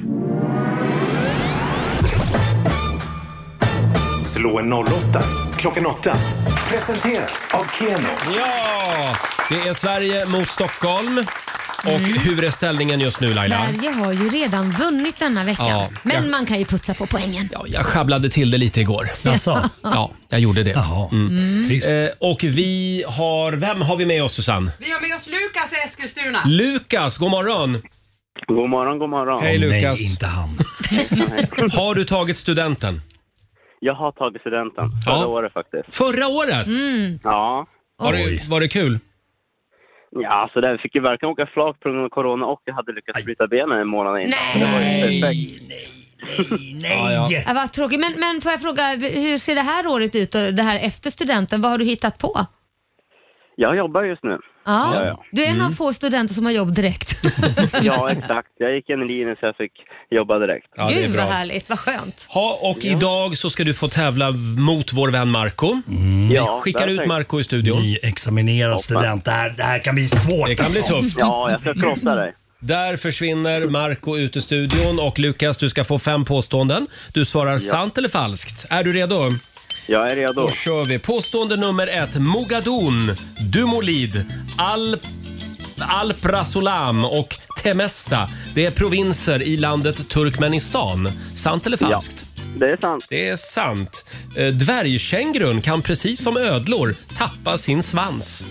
S3: Slå en 08 klockan 8. Presenteras av Keno.
S1: Ja, det är Sverige mot Stockholm. Och
S10: Mm.
S1: hur är ställningen just nu Laila?
S2: Sverige har ju redan vunnit denna veckan.
S1: Ja,
S2: men
S1: ja.
S2: man kan ju putsa på poängen.
S1: Jag sjabblade till det lite igår.
S2: Jaså?
S1: Ja, jag gjorde det.
S2: Mm. Trist.
S1: Eh, och vi har, vem har vi med oss Susanne?
S6: Vi har med oss Lukas i Eskilstuna.
S1: Lukas, god morgon!
S13: God morgon, god morgon.
S1: Hej Lukas!
S8: han.
S1: har du tagit studenten?
S13: Jag har tagit studenten. Förra
S1: Ja.
S13: året faktiskt.
S1: Förra året?
S2: Mm.
S13: Ja.
S1: Var det, var det kul?
S13: Ja, alltså den fick ju verkligen åka flak på grund av corona och jag hade lyckats bryta benen en månad innan. Så Det var ju perfekt.
S8: Nej!
S2: Ja, vad tråkigt. Men, men får jag fråga, hur ser det här året ut? och Det här efter studenten, vad har du hittat på?
S13: Jag jobbar just nu.
S2: Ja.
S13: Ja, ja.
S2: Du är en av
S13: Mm.
S2: få studenter som har jobb direkt.
S13: Ja, exakt. Jag gick en linje så jag fick jobba direkt.
S2: Gud vad härligt, vad skönt.
S1: Ha, och idag så ska du få tävla mot vår vän Marco. Vi
S13: Ja,
S1: skickar
S13: där
S1: ut
S13: tänk-
S1: Marco i studion.
S8: Nyexaminerad student. Det här, det här kan bli svårt.
S1: Det kan bli
S8: alltså.
S1: tufft. dig. Där försvinner Marco ut ur studion och Lukas, du ska få fem påståenden. Du svarar sant eller falskt. Är du redo?
S13: Jag är redo.
S1: Då kör vi. Påstående nummer ett. Mogadon, Dumolid, Al... Alprazolam och Temesta. Det är provinser i landet Turkmenistan. Sant eller falskt?
S13: Det är sant.
S1: Det är sant. Eh, Dvärgkängurun kan precis som ödlor tappa sin svans.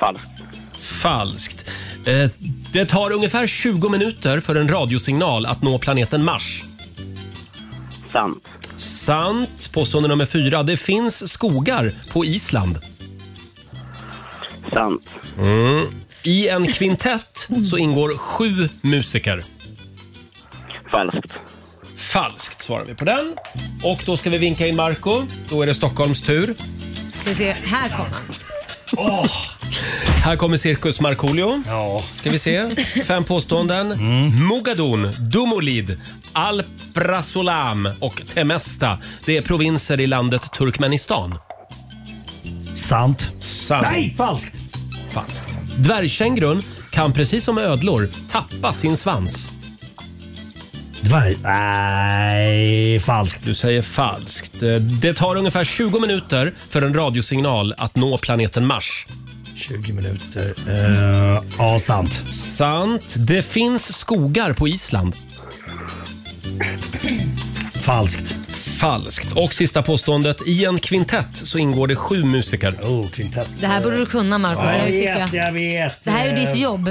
S13: Falskt.
S1: Falskt. Eh, Det tar ungefär 20 minuter för en radiosignal att nå planeten Mars.
S13: Sant.
S1: Sant. Påstående nummer fyra. Det finns skogar på Island.
S13: Sant.
S1: Mm. I en kvintett så ingår sju musiker.
S13: Falskt.
S1: Falskt svarar vi på den. Och då ska vi vinka in Marco. Då är det Stockholms tur.
S2: Vi ser, här kommer han.
S1: Här kommer Cirkus Markoolio. Ja. Ska vi se. Fem påståenden. Mogadon, Dumolid, Alprazolam och Temesta. Det är provinser i landet Turkmenistan.
S8: Sant.
S1: Sant.
S8: Nej, falskt!
S1: Falskt. Dvärgkängurun kan precis som ödlor tappa sin svans.
S8: Dvärg... Nej, falskt.
S1: Du säger falskt. Eh, Det tar ungefär 20 minuter för en radiosignal att nå planeten Mars.
S8: 20 minuter. Eh, ja, sant.
S1: Sant. Det finns skogar på Island.
S8: Falskt.
S1: Falskt. Och sista påståendet. I en kvintett så ingår det sju musiker.
S8: Oh, kvintett.
S2: Det här borde du kunna Marco.
S8: Ja,
S2: det,
S8: jag
S2: här
S8: vet,
S2: tycker
S8: jag vet.
S2: det här är ju
S8: Eh,
S2: ditt jobb.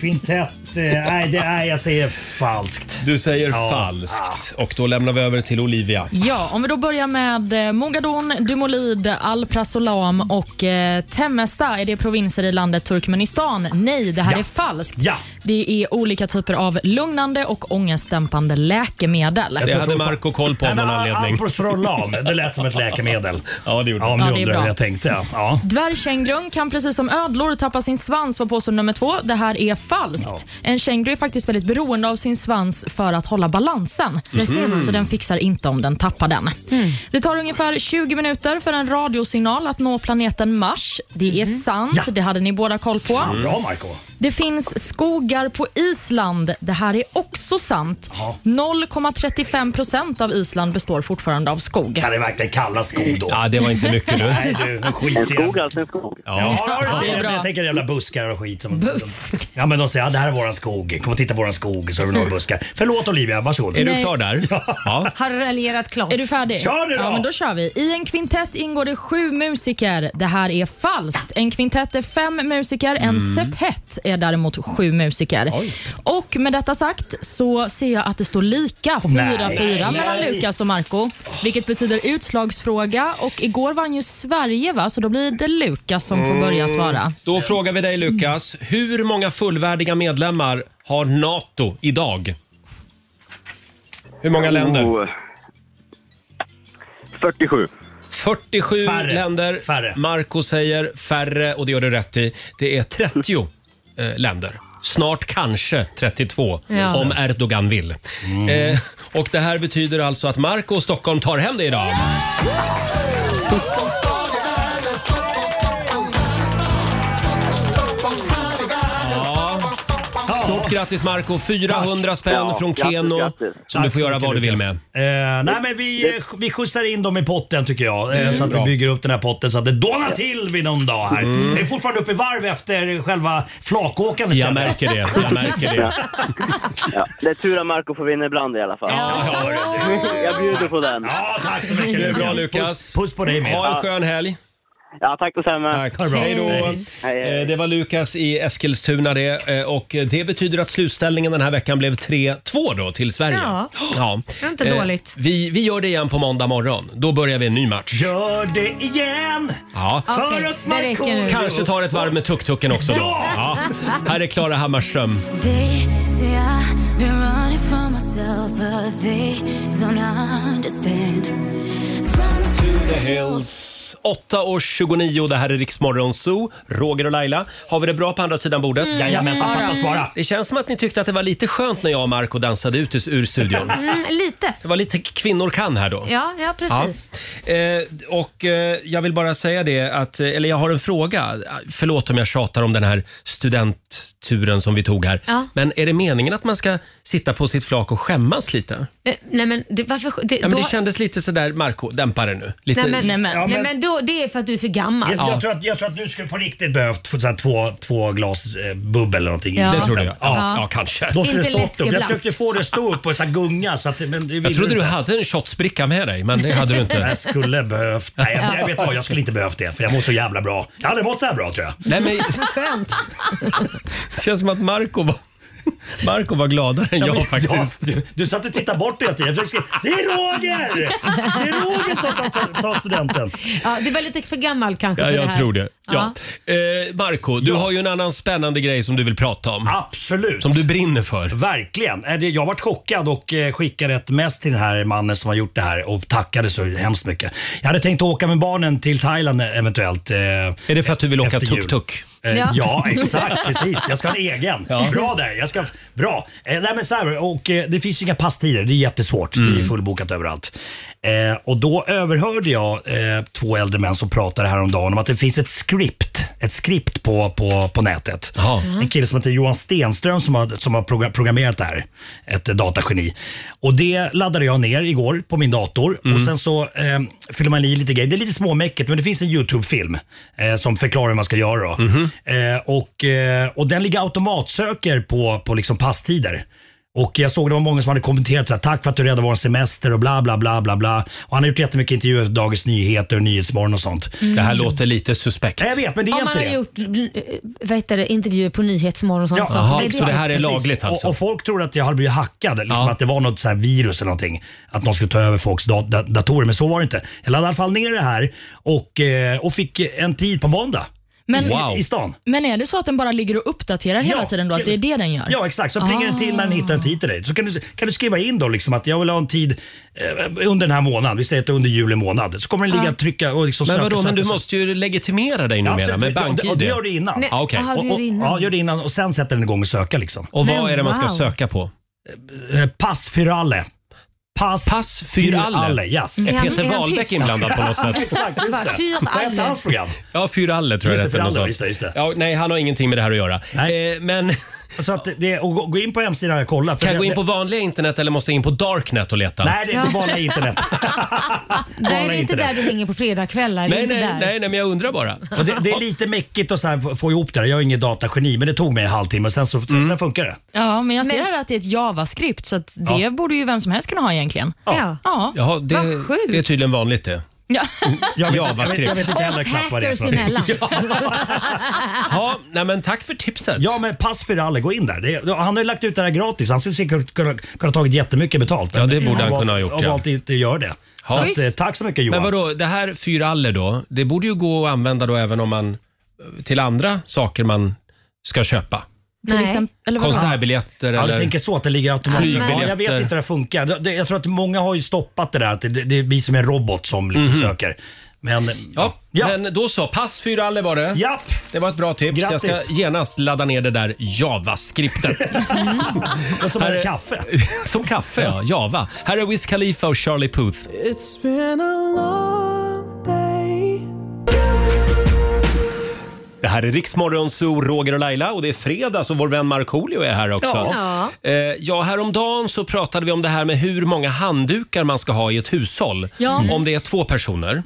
S8: Kvintett. eh, Nej, det, nej, jag säger falskt.
S1: Du säger
S8: Ja.
S1: falskt. Och då lämnar vi över till Olivia.
S5: Ja, om vi då börjar med eh, Mogadon, Dumolid, Alprazolam och eh, Temesta. Är det provinser i landet Turkmenistan? Nej, det här
S8: Ja.
S5: är falskt.
S8: Ja.
S5: Det är olika typer av lugnande och ångestdämpande läkemedel.
S1: Det hade Marco koll på av någon anledning.
S8: Alprazolam, det lät som ett läkemedel.
S1: Ja, Mm. det gjorde
S8: Ja,
S5: Ja,
S8: men
S5: det
S8: jag
S5: är
S8: undrar
S5: bra.
S8: vad jag tänkte. ja. Ja.
S5: Dvärgkängurun kan precis som ödlor tappa sin svans var påstående nummer två. Det här är falskt. En känguru är faktiskt väldigt beroende av sin svans för att hålla balansen.
S2: Där ser man.
S5: Så den fixar inte om den tappar den.
S2: Mm.
S5: Det tar ungefär 20 minuter för en radiosignal att nå planeten Mars. Det är sant, det hade ni båda koll på.
S8: Bra, Marco.
S5: Det finns skogar på Island. Det här är också sant. 0,35 procent av Island består fortfarande av skog.
S8: Kan det verkligen kallas skog då?
S1: Ja, Ah, det var inte mycket nu.
S8: Nej du, skit
S13: En
S8: i
S13: skog alltså en skog.
S8: Ja, ja,
S5: Ja, det är bra.
S8: jag tänker jävla buskar och skit. Busk? Ja men de säger ja, det här är våran skog, kom och titta på våran skog så är det
S1: Mm.
S8: några buskar. Förlåt Olivia, varsågod.
S5: Är du Nej. klar
S1: där? Ja.
S2: Har du raljerat klart?
S5: Är du färdig?
S8: Kör nu då!
S5: Ja, men då kör vi. I en kvintett ingår det sju musiker. Det här är falskt. En kvintett är fem musiker. En
S12: Mm.
S5: sepett är däremot sju musiker.
S12: Oj.
S5: Och med detta sagt så ser jag att det står lika,
S12: Nej.
S5: 4-4 mellan
S12: Nej.
S5: Lukas och Marco Vilket betyder utslagsfråga. Och igår vann ju Sverige va, så då blir det Lukas som får börja
S8: Mm.
S5: svara.
S1: Då frågar vi dig Lukas, hur många fullvärdiga medlemmar har NATO idag? Hur många länder?
S13: 47.
S1: 47 länder. Marco säger färre och det gör du rätt i. Det är 30 eh, länder. Snart kanske 32
S12: Ja.
S1: om Erdogan vill. Eh, och det här betyder alltså att Marco och Stockholm tar hem det idag. Ja. Stort grattis Marco 400 spänn
S8: Ja,
S1: från
S8: grattis,
S1: Keno
S8: grattis.
S1: som du
S8: Tack
S1: får
S8: så
S1: göra
S8: mycket,
S1: vad du vill
S8: Lukas.
S1: med.
S8: Eh, nej men vi, eh, vi skjutsar in dem i potten tycker jag. Eh,
S1: Mm.
S8: Så att
S1: Bra.
S8: vi bygger upp den här potten så att det dånar till vid någon dag här.
S1: Mm.
S8: Jag är fortfarande uppe i varv efter själva flakåkandet.
S1: Jag
S8: känner
S1: märker det, jag märker det.
S13: Ja, det är tur att Marco får vinna ibland i alla fall. Jag bjuder på den.
S8: Ja, tack så mycket.
S1: Det är bra
S8: Puss,
S1: Lukas.
S8: Puss på dig med.
S1: Ha en skön helg.
S13: Ja, tack detsamma.
S1: Tack.
S13: det bra.
S1: Hej då.
S13: Hej.
S1: Eh, Det var Lukas i Eskilstuna det eh, och det betyder att slutställningen den här veckan blev 3-2 då till Sverige.
S2: Ja. Det är inte
S1: Eh,
S2: dåligt.
S1: Vi, vi gör det igen på måndag morgon. Då börjar vi en ny match.
S8: Gör det igen!
S1: Ja.
S8: För Okej, oss, det räcker Markoolio. nu.
S1: Kanske tar ett varv med tuk-tuken också. Då.
S8: Ja!
S1: Ja. Här är Klara Hammarström.
S12: They say I've been running from myself, but they don't understand. Run through the
S1: Hills. 8 år 29, det här är Riksmorgon Zoo. Roger och Laila, har vi det bra på andra sidan bordet?
S12: Mm. Jajamensan, Ja, fattas då. bara.
S1: Det känns som att ni tyckte att det var lite skönt när jag och Marco dansade ut ur- ur studion.
S2: Mm, lite.
S1: Det var lite kvinnor kan här då.
S2: Ja, ja precis.
S1: Ja. Eh, och eh, jag vill bara säga det att, eh, eller jag har en fråga. Förlåt om jag tjatar om den här studentturen som vi tog här.
S2: Ja.
S1: Men är det meningen att man ska sitta på sitt flak och skämmas lite?
S2: Eh, Nej men det, varför... Det,
S1: Ja, men
S2: då,
S1: det kändes lite sådär, Marco dämpa det nu. Lite...
S2: nej men, nej, men,
S8: Ja, men-
S2: nej, men då, det är för att du är för gammal.
S8: Jag, jag, tror att, jag tror att du skulle på riktigt behövt få så här, två, två glas eh, bubbel eller någonting. i
S2: Ja.
S1: Det tror du, ja.
S8: ja.
S1: Ja, ja, kanske.
S8: Då skulle
S1: Inte
S8: det stå upp. Jag
S1: läskeblask.
S8: försökte få det att stå upp och så här gunga. Så att, det- men det ville
S1: Jag trodde du
S8: inte.
S1: hade en shotsbricka med dig, men det hade du inte.
S8: Jag skulle behövt. Nej, jag, jag vet vad, jag skulle inte behövt det för jag mår så jävla bra. Jag har aldrig mått så här bra tror jag.
S1: Nej, men,
S2: Skönt.
S1: det känns som att Marco var, Marco var gladare än
S8: Ja, men-
S1: jag faktiskt.
S8: ja, du, du satt och tittade bort hela tiden. Jag försökte skriva, det är Roger! Det är Roger som tar, tar studenten.
S2: Ja, du var lite för gammal kanske
S1: Ja,
S2: för
S1: jag
S2: här.
S1: tror det. Ja.
S2: Ja.
S1: Eh, Marco, du har ju en annan spännande grej som du vill prata om.
S8: Absolut.
S1: Som du brinner för.
S8: Verkligen. Eh, det- Jag varit chockad och eh, skickade ett mess till den här mannen som har gjort det här och tackade så hemskt mycket. Jag hade tänkt åka med barnen till Thailand eh, eventuellt. Är
S1: det för att du vill åka tuk-tuk?
S8: Ja.
S1: Ja.
S8: Eh, ja, exakt. Precis. Jag ska ha en egen.
S1: Ja.
S8: Bra där. Jag ska, bra. Eh, nej, men så här, och, eh, det finns ju inga passtider. Det är jättesvårt. Det är fullbokat överallt. Eh, och Då överhörde jag eh, två äldre män som pratade häromdagen om att det finns ett script. Ett script på, på, på nätet. En kille som heter Johan Stenström som har, som har progra- programmerat det här. Ett eh, datageni. Och Det laddade jag ner igår på min dator.
S2: Mm.
S8: Och Sen så eh, fyller man i lite grejer. Det är lite småmäckigt men det finns en YouTube-film eh, som förklarar hur man ska göra. Då.
S2: Mhm.
S8: Eh, och, eh, och den ligger automatsöker på, på liksom passtider. Och jag såg det var många som hade kommenterat så här, tack för att du räddade vår semester och bla bla bla bla bla. Och han har gjort jättemycket intervjuer för Dagens Nyheter och Nyhetsmorgon och sånt.
S1: Det här låter lite suspekt.
S8: Jag vet, men det är
S2: Mm. Om
S8: inte
S2: man
S8: det.
S2: har gjort eh, vad heter det, intervjuer på Nyhetsmorgon och sånt. sånt.
S8: Jaha,
S2: Det är
S8: precis.
S1: alltså?
S8: Och, och folk tror att jag hade blivit hackad, liksom att det var något så här virus eller någonting. Att någon skulle ta över folks dat- dat- datorer, men så var det inte. Jag laddade i alla fall ner det här och, eh, och fick en tid på måndag.
S5: Men-
S8: I,
S5: Wow.
S8: I stan.
S5: Men är det så att den bara ligger och uppdaterar hela
S8: Ja.
S5: tiden då? Att det är det den gör?
S8: Ja exakt, så plingar den till när den hittar en tid till dig. Så kan du, kan du skriva in då liksom att jag vill ha en tid eh, under den här månaden, vi säger att det är under juli månad. Så kommer den ligga och trycka och liksom
S1: Men
S8: söka,
S1: vadå, men
S8: söka,
S1: du
S8: söka.
S1: måste ju legitimera dig
S8: Ja,
S1: numera
S8: absolut.
S1: med
S8: Ja,
S1: bank-id.
S8: och det gör du innan.
S1: Ja, okej.
S2: Jaha, du gör det innan.
S8: Ja, gör det innan och sen sätter den igång och söka liksom.
S1: Och vad är det man ska söka på?
S8: Eh, Passfiralle. Pass,
S1: Pass Fyralle.
S8: yes.
S1: Är Peter Wahlbeck inblandad på något sätt?
S8: Exakt, just
S1: Bara,
S8: det. Vad hette hans program?
S1: Ja, Fyralle tror jag
S8: Just det,
S1: hette, något
S8: Fyralle,
S1: sånt.
S8: visst det, visst det.
S1: Ja, nej, han har ingenting med det här att göra. Eh,
S8: Nej.
S1: men...
S8: Så att det, och gå, gå in på hemsidan och kolla.
S1: Kan jag gå in
S8: det-
S1: på vanliga internet eller måste jag in på darknet och leta?
S8: Nej, det är på vanliga internet.
S2: Nej, det är inte
S8: internet.
S2: där du hänger på fredagkvällar. det är
S1: Nej,
S2: inte
S1: nej,
S2: där.
S1: nej, nej, men jag undrar bara.
S8: Och det, det är lite mäckigt att så här få- få ihop det där. Jag är ingen datageni men det tog mig en halvtimme sen, så,
S1: Mm.
S8: sen, sen funkar det.
S5: Ja, men jag ser här att det är ett JavaScript, så att det
S8: Ja.
S5: borde ju vem som helst kunna ha egentligen. Ja. ja.
S1: Jaha, det,
S5: Vad sjukt.
S1: det är tydligen vanligt det.
S5: Ja.
S1: Javascrift. Ja, nej, men tack för tipset.
S8: Ja, men pass för alla. Gå in där. Det, han har ju lagt ut det här gratis. Han skulle säkert kunna, kunna tagit jättemycket betalt.
S1: Ja, det borde han
S8: valt-
S1: kunna ha gjort,
S8: Och
S1: ja.
S8: valt att inte göra det. Så
S1: Ja.
S8: att, eh, tack så mycket Johan.
S1: Men vadå, det här fyralle då, det borde ju gå att använda då även om man till andra saker man ska köpa.
S5: Till exempel, eller vadå?
S1: Konsertbiljetter
S8: Ja,
S1: eller...
S8: du tänker så att det ligger automatiskt. Ja,
S1: Flygbiljetter.
S8: jag vet inte hur det funkar. Det- det- Jag tror att många har ju stoppat det där att det, det blir som en robot som liksom
S1: Mhm.
S8: söker. Men
S1: Ja, men då så. Pass fyralle var det.
S8: Japp.
S1: Det var ett bra tips. Jag
S8: Grattis.
S1: ska genast ladda ner det där javaskriptet.
S8: låter som en kaffe.
S1: som kaffe, ja. Java. Här är Wiz Khalifa och Charlie Puth.
S7: It's been a long day
S1: Det här är Riksmorgon Zoo, Roger och Laila och det är fredag så vår vän Markoolio är här också.
S7: Ja.
S1: Eh, ja, häromdagen så pratade vi om det här med hur många handdukar man ska ha i ett hushåll.
S7: Ja. Mm.
S1: Om det är två personer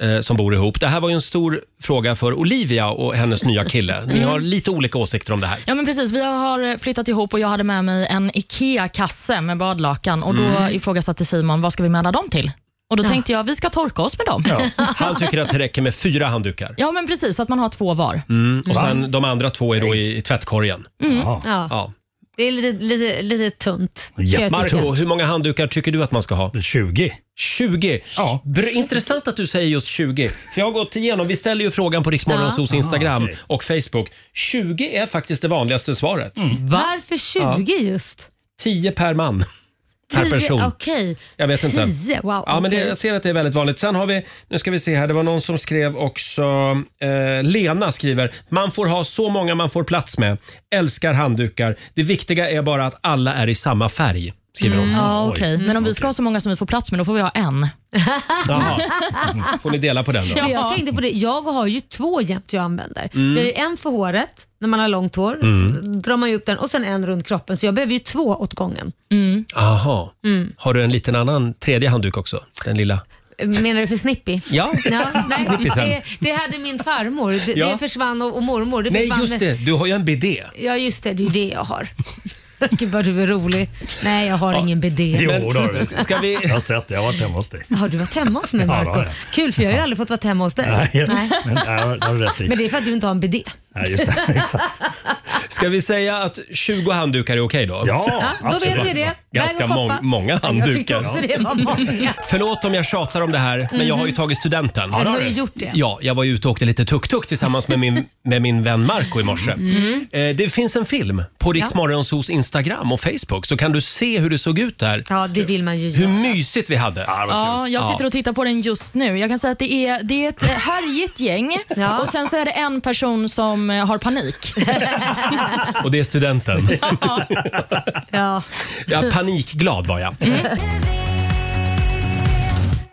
S7: Mm.
S1: eh, som bor ihop. Det här var ju en stor fråga för Olivia och hennes nya kille. Ni har lite olika åsikter om det här.
S5: Ja men precis, vi har flyttat ihop och jag hade med mig en IKEA-kasse med badlakan och då
S1: Mm.
S5: ifrågasatte Simon, vad ska vi med alla dem till? Och då tänkte jag, vi ska torka oss med dem. Ja,
S1: Han tycker att det räcker med fyra handdukar.
S5: men precis, så att man har två var.
S1: Mm, och
S5: Va?
S1: sen de andra två är då i, i tvättkorgen.
S5: Mm.
S2: Ja.
S1: Ja.
S2: Det är lite, lite, lite tunt.
S1: Marco, hur många handdukar tycker du att man ska ha?
S8: 20.
S1: 20? Ja. Intressant att du säger just 20. För jag har gått igenom, vi ställer ju frågan på Riksmorgonsos
S2: Ja.
S1: Instagram
S2: Ah, okej.
S1: och Facebook. 20 är faktiskt det vanligaste svaret.
S2: Varför 20 just?
S1: 10 per man. Per
S2: Tio-
S1: person.
S2: Okej.
S1: Jag vet inte.
S2: Tio, wow.
S1: Ja, men det,
S2: okej.
S1: jag ser att det är väldigt vanligt. Sen har vi, nu ska vi se här, det var någon som skrev också, eh, Lena skriver, man får ha så många man får plats med, älskar handdukar, det viktiga är bara att alla är i samma färg, skriver
S2: Mm,
S1: hon.
S5: Ja,
S1: Oj.
S5: okej. Men om vi ska ha så många som vi får plats med, då får vi ha en.
S1: Jaha. Får ni dela på den då?
S2: Men Jag tänkte på det, jag har ju två jämt jag använder.
S1: Mm.
S2: Jag har ju en för håret när man har långt hår,
S1: Mm.
S2: så drar man ju upp den och sen en runt kroppen så jag behöver ju två åt gången.
S1: Aha.
S2: Mm.
S1: Har du en liten annan tredje handduk också? Den lilla?
S2: Menar du för Snippy?
S1: Ja.
S2: nej,
S1: Snippisen.
S2: det, det hade min farmor, det,
S1: Ja.
S2: det försvann och, och mormor. Det
S1: Nej,
S2: försvann
S1: just det. Du har ju en bidé.
S2: Ja just det, det är ju det jag har. Gud vad du är rolig. Nej jag har ingen bidé.
S8: Jo, då har du.
S1: Ska vi...
S8: Jag har sett det. Jag har varit hemma hos dig.
S2: Har du varit hemma hos mig
S8: Ja, det har
S2: Marco?
S8: jag.
S2: Kul för jag har ju aldrig fått vara hemma hos dig.
S8: Nej,
S2: Nej.
S8: men äh, nej, det har du rätt i.
S2: Men det är för att du inte har en bidé.
S8: Nej, just det.
S1: Ska vi säga att 20 handdukar är okej då?
S8: Ja,
S2: Ja, då vet absolut. vi det.
S1: Ganska
S2: Där är
S1: mång-
S2: shoppa.
S1: många handdukar.
S2: Jag tyckte också det var många.
S1: Förlåt om jag tjatar om det här, men jag har ju tagit studenten.
S2: Ja, du Mhm. har ju gjort det.
S1: Ja, jag var ju ute och åkte lite tuk-tuk tillsammans med min, med min vän Marco i morse.
S2: Mm.
S1: Eh, Det finns en film på Rix
S2: Ja.
S1: Morgonzos Instagram och Facebook så kan du se hur det såg ut där.
S2: Ja, det vill man ju
S1: Hur mysigt vi hade.
S5: Ja, jag sitter och tittar på den just nu. Jag kan säga att det är, det är ett eh, härjigt gäng
S2: Ja.
S5: och sen så är det en person som eh, har panik.
S1: Och det är studenten.
S2: Ja.
S1: Ja, panikglad var jag.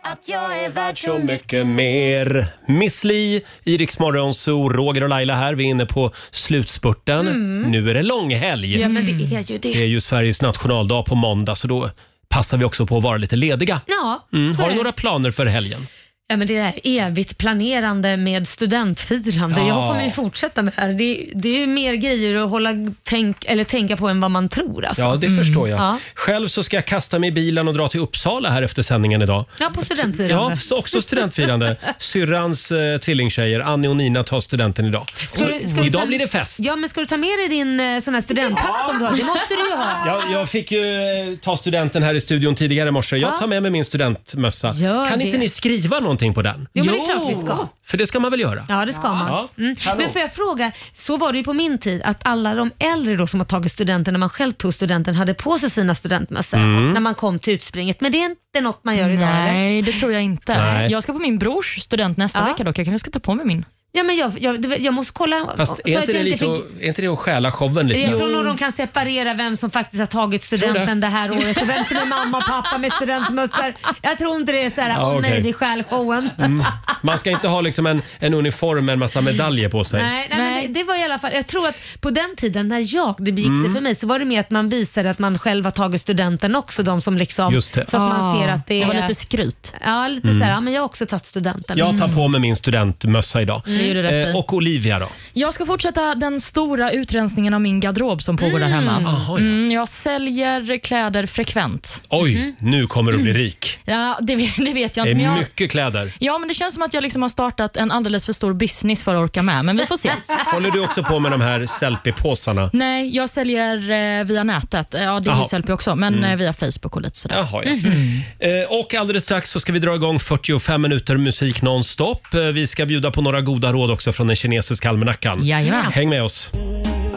S12: Att jag är värd
S1: så mycket mer. Miss Li, i Rix Morgon Zoo, Roger och Laila här. Vi är inne på slutspurten.
S2: Mm.
S1: Nu är det långhelg.
S2: Ja men det är ju det.
S1: Det är ju Sveriges nationaldag på måndag så då passar vi också på att vara lite lediga.
S2: Ja,
S1: Mm.
S2: så
S1: Har
S2: är
S1: du
S2: det.
S1: några planer för helgen?
S2: Ja, men det är evigt planerande med studentfirande.
S1: Ja.
S2: Jag kommer ju fortsätta med det här. Det, det är ju mer grejer att hålla, tänk, eller tänka på än vad man tror. Alltså.
S1: Ja, det förstår jag.
S2: Ja.
S1: Själv så ska jag kasta mig i bilen och dra till Uppsala här efter sändningen idag.
S2: Ja, på
S1: Ja,
S2: studentfirande.
S1: också studentfirande. Syrrans eh, tvillingtjejer, Annie och Nina, tar studenten idag.
S2: Ska du- ska du
S1: idag
S2: ta-
S1: blir det fest.
S2: Ja, men ska du ta med dig din eh, sån här studenthatt som du har? Det måste du ju ha.
S1: Jag, jag fick ju eh, ta studenten här i studion tidigare i morse. Jag
S2: Ja.
S1: tar med mig min studentmössa.
S2: Gör
S1: kan
S2: det.
S1: inte ni skriva någonting på den?
S2: Jo, men det är klart vi ska.
S1: För det ska man väl göra?
S2: Ja, det ska man.
S1: Ja.
S2: Mm. Men får jag fråga, så var det ju på min tid att alla de äldre då som har tagit studenten när man själv tog studenten hade på sig sina studentmössor
S5: Mm.
S2: när man kom till utspringet. Men det är inte något man gör idag
S5: Nej,
S2: eller?
S5: det tror jag inte.
S2: Nej.
S5: Jag ska på min brors student nästa vecka dock. Jag kanske ska ta på mig min.
S2: Ja, men jag, jag, det var- jag måste kolla.
S1: Fast är
S2: att
S1: inte, det
S2: jag
S1: lite
S2: fick-
S1: att- är inte det att stjäla showen lite?
S2: Jag tror nog de kan separera vem som faktiskt har tagit
S1: Tror du?
S2: studenten det här året och vem som är mamma och pappa med studentmössor. Jag tror inte det är så här,
S1: Ja,
S2: åh
S1: okej.
S2: nej det stjäl showen.
S1: Mm. Man ska inte ha liksom en, en uniform med en massa medaljer på sig.
S2: Nej, nej, Men det, det var i alla fall, jag tror att på den tiden när jag, det begick sig
S1: Mm.
S2: för mig, så var det mer att man visade att man själv har tagit studenten också. De som liksom,
S1: Just
S2: så
S1: det.
S2: att man
S5: Ah,
S2: ser att det
S5: det
S2: är...
S5: var lite
S2: skryt. Ja, lite
S1: Mm.
S2: så här, ja, men jag har också tagit studenten.
S1: Jag tar på mig min studentmössa idag. Eh,
S5: Mm. Det gör du rätt i.
S1: och Olivia då?
S5: Jag ska fortsätta den stora utrensningen av min garderob som pågår där hemma.
S1: Mm. Aha, ja.
S5: Mm, jag säljer kläder frekvent.
S1: Oj,
S2: Mm.
S1: nu kommer du bli rik.
S5: Ja, det, vet- det vet jag
S1: Det
S5: inte. men
S1: är
S5: jag,
S1: mycket kläder.
S5: Ja, men det känns som att jag liksom har startat en alldeles för stor business för att orka med, men vi får se.
S1: Håller du också på med de här selfiepåsarna?
S5: Nej, jag säljer eh, via nätet. Eh, Ja, det är
S1: Jaha.
S5: ju Sellpy också, men
S1: Mm.
S5: eh, via Facebook och lite sådär.
S1: Jaha, ja.
S5: Mhm.
S2: Mm-hmm.
S1: Eh, Och alldeles strax så ska vi dra igång 45 minuter musik nonstop. Eh, Vi ska bjuda på några goda råd också från den kinesiska almanackan.
S7: Jajamän.
S1: Häng med oss.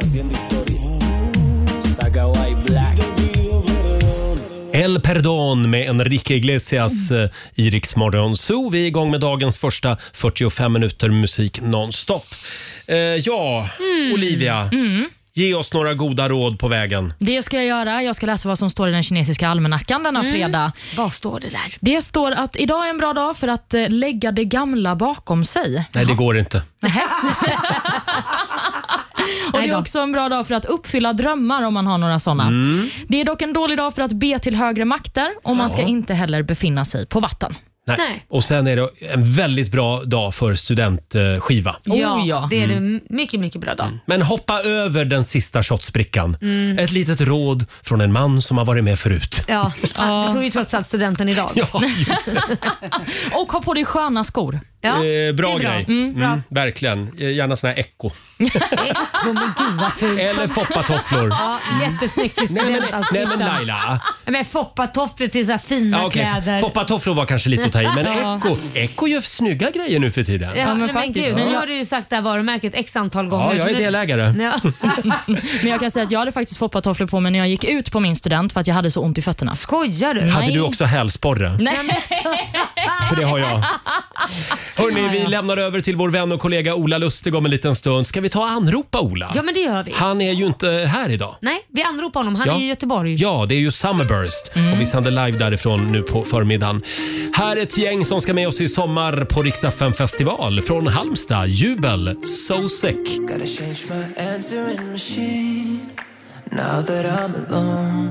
S7: Haciendo historia. Saga White Black.
S1: El Perdón med Enrique Iglesias mm. i Rix Morgon Zoo. Vi är igång med dagens första 45 minuter musik nonstop. Eh, Ja, Olivia.
S5: Mm.
S1: Ge oss några goda råd på vägen.
S5: Det ska jag göra. Jag ska läsa vad som står i den kinesiska almanackan denna
S2: Mm.
S5: fredag.
S2: Vad står det där?
S5: Det står att idag är en bra dag för att eh, lägga det gamla bakom sig.
S1: Nej, det går inte.
S5: Och Det är också en bra dag för att uppfylla drömmar om man har några sådana.
S1: Mm.
S5: Det är dock en dålig dag för att be till högre makter och man ska
S1: Ja.
S5: inte heller befinna sig på vatten.
S1: Nej. Och sen är det en väldigt bra dag för studentskiva.
S2: Ja,
S5: Oh, ja.
S2: det är
S1: Mm.
S2: en mycket, mycket bra dag.
S1: Men hoppa över den sista shotsbrickan.
S2: Mm.
S1: Ett litet råd från en man som har varit med förut.
S2: Ja, du tog ju trots allt studenten idag.
S1: Ja,
S5: och ha på dig sköna skor.
S1: eh, bra, grej.
S5: Mm, bra.
S1: Mm, verkligen. Eh, Gärna såna här Echo.
S2: Oh, men gud vad fult.
S1: Eller foppatofflor.
S2: Ja, jättesnyggt till
S1: Nej men, nej, men
S2: studentutfiten.
S1: Laila.
S2: Men foppatofflor till så här fina
S1: Ja, okej.
S2: kläder.
S1: Foppatofflor var kanske lite att ta i, men
S2: Ja.
S1: Echo, Echo gör snygga grejer nu för
S2: Ja,
S1: tiden.
S2: men, nej, men gud,
S1: Ja.
S2: nu har du ju sagt det här varumärket x antal gånger.
S1: Ja, jag
S2: så
S1: är
S2: nu-
S1: delägare.
S2: Ja.
S5: Men jag kan säga att jag hade faktiskt foppatofflor på mig när jag gick ut på min student för att jag hade så ont i fötterna.
S2: Skojar du?
S1: Hade du också hälsporre?
S5: Nej.
S2: alltså-
S1: För det har jag. Hörni, vi lämnar över till vår vän och kollega Ola Lustig om en liten stund. Ska vi ta och anropa Ola?
S2: ja, men det gör vi.
S1: Han är ju inte här idag.
S2: Nej, vi anropar honom. Han
S1: Ja.
S2: är i Göteborg. Mm.
S1: Ja, det är ju Summerburst och vi sänder live därifrån nu på förmiddagen. Här är ett gäng som ska med oss i sommar på Rix FM festival från Halmstad. Jubel, So Sick.
S7: Gotta change my answering machine now that I'm alone.